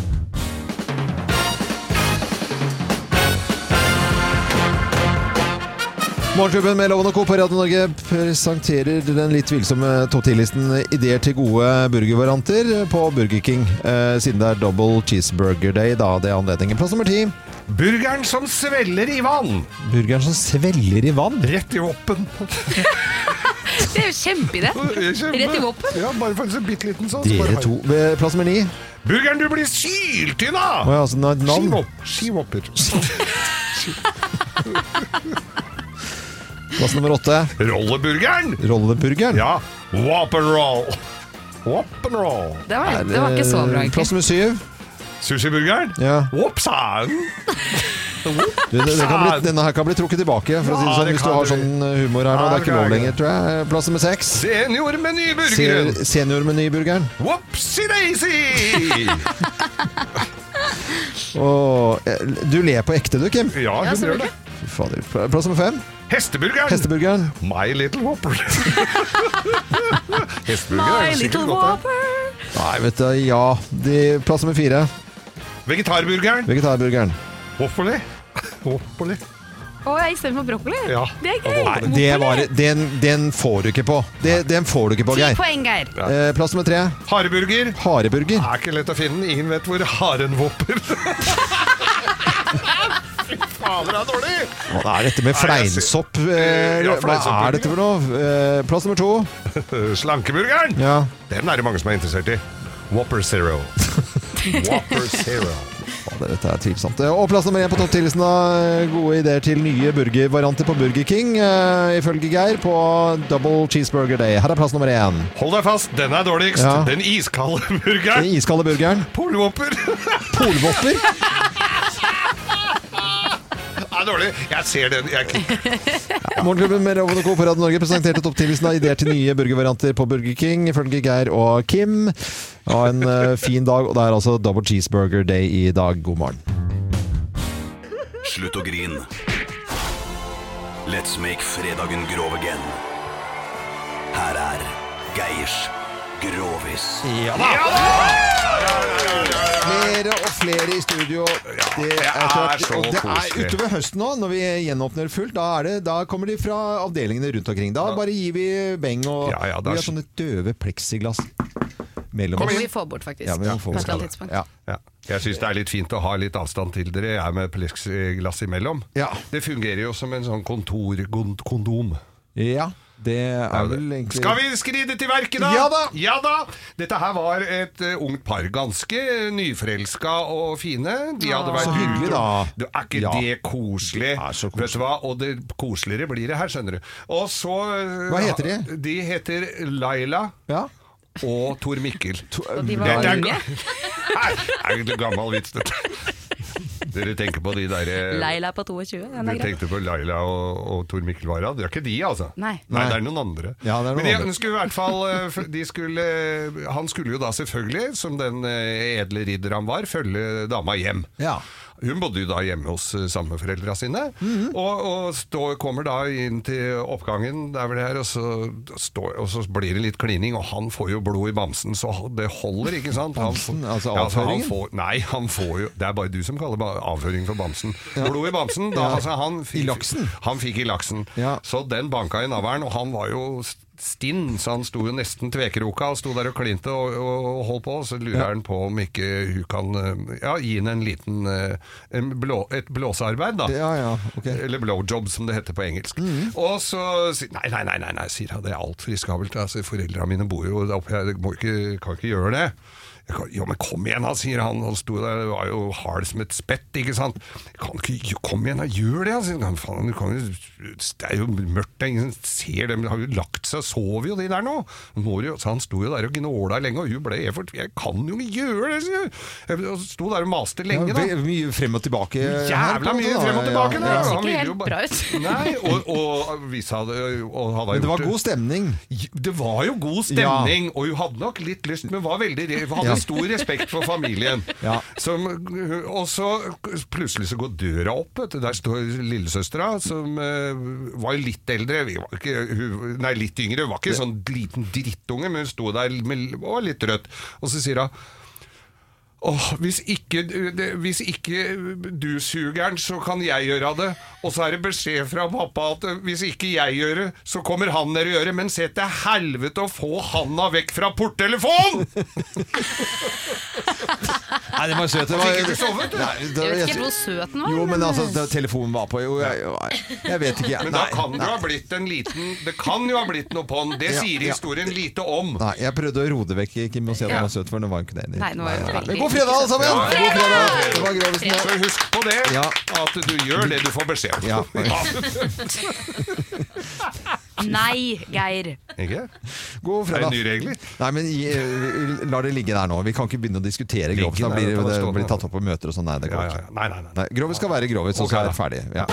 S1: Morgenklubben med Loven og Co. på Radio Norge presenterer den litt tvilsomme topp 10-listen ideer til gode burgervarianter på Burger King. Eh, siden det er double cheeseburger day, da det er anledningen. Plass nummer ti.
S3: Burgeren som svelger i vann!
S1: Burgeren som svelger i vann.
S3: Rett i hoppen.
S2: Det er jo kjempeidé! Rett i hoppen.
S3: Ja, bare for en så bitte liten sånn. så
S1: Dere
S3: bare-
S1: to. Ved Plass nummer ni.
S3: Burgeren du blir syltynn
S1: Å
S3: av!
S1: ja, altså, na- navn.
S3: Skivhopp- Skivhopper.
S1: Plass nummer åtte.
S3: Rolleburgeren!
S1: Rolleburgeren.
S3: Ja. Whop and roll. Whop and roll.
S2: Det var, det var ikke så bra,
S1: Eh,
S2: egentlig.
S1: Plass nummer syv.
S3: Sushiburgeren?
S1: Ja.
S3: Whoopsan!
S1: Du, det, det kan bli, denne her kan bli trukket tilbake, for å si det
S3: Ja,
S1: sånn,
S3: det
S1: hvis du
S3: kan
S1: har
S3: bli.
S1: sånn humor her nå.
S3: Ja,
S1: Det er ikke
S3: det
S1: lov
S3: kan
S1: lenger, tror jeg. Plass nummer seks.
S3: Seniormenyburgeren!
S1: Seniormenyburgeren.
S3: Whoopsie-daisy!
S1: Og eh, du ler på ekte, du, Kim.
S3: ja,
S2: Ja,
S3: hun gjør det.
S2: selvfølgelig.
S1: Fy Fader. Plass nummer fem.
S3: Hesteburgeren!
S1: Hesteburgeren.
S3: My Little Whopper. Hesteburgeren
S2: My
S3: er sikkert
S2: little
S3: godt,
S2: whopper.
S1: Nei, vet du, ja. De, plass nummer fire.
S3: det. Vegetarburgeren.
S1: Vegetarburgeren.
S3: Whopperly. Whopperly.
S2: Å, jeg istedenfor brokkoli?
S3: Ja.
S2: Det er gøy!
S1: Nei, det var, den, den får du ikke på. Det, den får du ikke på,
S2: Ti
S1: Geir.
S2: poeng, Geir.
S1: Eh, plass nummer tre.
S3: Hareburger.
S1: Hareburger.
S3: Er ikke lett å finne. Ingen vet hvor haren whopper. Fy fader, det er dårlig!
S1: Hva er dette med
S3: Nei, jeg ser-
S1: fleinsopp? eh,
S3: Ja,
S1: Hva
S3: fleinsopp.
S1: er dette for noe? Eh, Plass nummer to.
S3: Slankeburgeren.
S1: Ja.
S3: Den er det mange som er interessert i. Whopper Zero. Whopper Zero.
S1: Fader, Dette er tvilsomt. Og plass nummer én på topptillitsen av gode ideer til nye burgervarianter på Burger King, eh, ifølge Geir, på Double Cheeseburger Day. Her er plass nummer én.
S3: Hold deg fast, den er dårligst.
S1: Ja.
S3: Den iskalde
S1: Den
S3: burgeren.
S1: iskalde burgeren.
S3: Polvhopper.
S1: Polvopper.
S3: er dårlig. Jeg ser den. Jeg
S1: Morgenklubben med Loven og Co. på Radio Norge presenterte topptillitsen av ideer til nye burgervarianter på Burger King, ifølge Geir og Kim. Ha en eh, fin dag, og det er altså Double Cheeseburger Day i dag. God morgen.
S12: Slutt å grin. Let's make fredagen grov again. Her er Geirs Grovis.
S3: Ja da!
S1: Flere og flere i studio. Det
S3: det
S1: etter hvert-
S3: er så
S1: og det er
S3: koselig.
S1: utover høsten nå, når vi gjenåpner fullt. Da, er det, da kommer de fra avdelingene rundt omkring. Da bare gir vi beng og
S3: Ja, ja, det er
S1: Vi har
S3: så-
S1: sånne døve pleksiglass mellom
S2: Det må
S1: oss.
S2: vi få bort, faktisk.
S1: Ja, vi må få
S2: på
S1: bort
S2: et eller annet tidspunkt.
S1: Ja.
S3: Ja. Jeg syns det er litt fint å ha litt avstand til dere. Jeg er med plexiglass imellom.
S1: Ja.
S3: Det fungerer jo som en sånn kontorkondom.
S1: ja, det er vel egentlig
S3: Skal vi skride til verket, da?
S1: Ja da!
S3: Ja da! Dette her var et eh, ungt par. Ganske nyforelska og fine. De hadde
S1: Ah,
S3: vært
S1: Så hyggelig,
S3: ute og-
S1: da.
S3: Du, er ikke
S1: Ja.
S3: det
S1: Det
S3: koselig?
S1: er så
S3: Vet du hva? Og det koseligere blir det her, skjønner du. Og så eh,
S1: Hva heter de?
S3: De heter Laila
S1: Ja.
S3: og Tor Mikkel.
S2: Og de
S3: eh, Det-
S2: var
S3: det er
S2: unge.
S3: ga- Nei, det er egentlig gammel vits, dette. Dere tenker på de derre
S2: Leila på 22. Den
S3: Dere
S2: er grei.
S3: tenkte på Laila og, og Tor Mikkel Wara. Det er ikke de, altså.
S2: Nei.
S3: Nei, det er noen andre.
S1: Ja, det er noen
S3: Men de,
S1: andre.
S3: de skulle i hvert fall eh, f- de skulle, eh, Han skulle jo da selvfølgelig, som den eh, edle ridder han var, følge dama hjem.
S1: Ja.
S3: Hun bodde jo da hjemme hos eh, samboerforeldra sine.
S1: Mhm.
S3: Og, og stå, kommer da inn til oppgangen, der hvor det er, og så, står- og så blir det litt klining, og han får jo blod i bamsen, så det holder, ikke sant? Han får-
S1: Bamsen, altså
S3: Ja, for han
S1: avføringen?
S3: får, nei, han får jo Det er bare du som kaller ba- avføring for bamsen. Blod i bamsen. Da,
S1: Ja.
S3: altså, han fikk,
S1: I laksen?
S3: Han fikk i laksen.
S1: Ja.
S3: Så den banka i navlen, og han var jo s- stinn, så han sto jo nesten tvekroka og sto der og klinte og, og, og holdt på. Så lurer han på om ikke hun kan eh, ja, gi henne en liten eh, en blå, et blåsearbeid, da.
S1: Ja, ja, ok. Mm.
S3: Eller blowjob, som det heter på engelsk. Og så sier Nei, nei, nei, nei, nei sier han. Det er altfor riskabelt. Altså, Foreldra mine bor jo der oppe, jeg må ikke, kan ikke gjøre det. Jeg kan, jo, men kom igjen, da, sier han. Han sto der, det var jo hard som et spett, ikke sant. Jeg kan ikke, jo, kom igjen, da, gjør det, han, sier han. Faen, du kan jo, det er jo mørkt, det er ingen som ser dem, de har jo lagt seg, sover jo de der nå. Må du jo- så han sto jo der og gnåla lenge, og hun ble helt fortvilet. Jeg kan jo ikke gjøre det, sier hun. Jeg og sto der og maste
S1: Ja,
S3: lenge, da.
S1: ve- mye frem og tilbake. her, på
S3: Jævla
S1: en måte,
S3: mye
S1: da.
S3: frem og tilbake.
S1: Ja,
S3: da.
S1: ja.
S2: ser
S3: Han
S2: ikke
S3: ville
S2: helt
S3: jo bare-
S2: bra ut.
S3: Nei, og, og vi sa det og hadde
S1: Men det var
S3: gjort
S1: god stemning.
S3: Det var jo god stemning, og hun hadde nok litt lyst, men var veldig, re- hadde
S1: Ja.
S3: stor respekt for familien.
S1: Ja.
S3: Som, og så plutselig så går døra opp, vet du. Der står lillesøstera, som eh, var litt eldre. Vi var ikke, hun, nei, litt yngre. Hun var ikke sånn liten drittunge, men hun sto der med, og var litt rødt. Og så sier hun Åh, hvis ikke, det- hvis ikke du suger den, så kan jeg gjøre det. Og så er det beskjed fra pappa at eh, hvis ikke jeg gjør det, så kommer han ned og gjør det. Men se til helvete å få handa vekk fra porttelefonen!
S1: Nei, det var søt. Det var,
S3: Fikk ikke sovet, du.
S1: Nei, det var-
S2: Jeg vet ikke helt hvor søt den var.
S1: Jo, men
S2: eh,
S1: altså, da telefonen var på jo, jeg, jeg vet ikke. Jeg.
S3: Men da kan det jo ha blitt en liten Det kan jo ha blitt noe på'n. Det
S1: Ja,
S3: sier
S1: ja.
S3: historien lite om.
S1: Nei, jeg prøvde å roe det vekk, Kim, og si at den var søt, for den var jo ikke det.
S2: Nei, nå er det
S1: Men god fredag, alle sammen!
S3: Ja, ja.
S1: God fredag! Det var Grovesen.
S3: Så husk på det,
S1: Ja.
S3: at du gjør det du får beskjed om.
S1: Ja.
S2: Nei, Geir.
S3: Ikke?
S1: God
S3: Er det
S1: fredag.
S3: nye regler?
S1: Nei, men i- eh, la det ligge der nå. Vi kan ikke begynne å diskutere
S3: Ligge
S1: Grovesen. Da
S3: der,
S1: blir
S3: det
S1: det,
S3: kan stå
S1: blir
S3: der.
S1: tatt opp på møter og sånn. Nei, det
S3: Ja,
S1: går
S3: ja, ja.
S1: ikke.
S3: Nei, nei, nei.
S1: Nei, Grovis skal være Grovis, og
S3: Ok,
S1: så er det
S3: da.
S1: ferdig. Ja.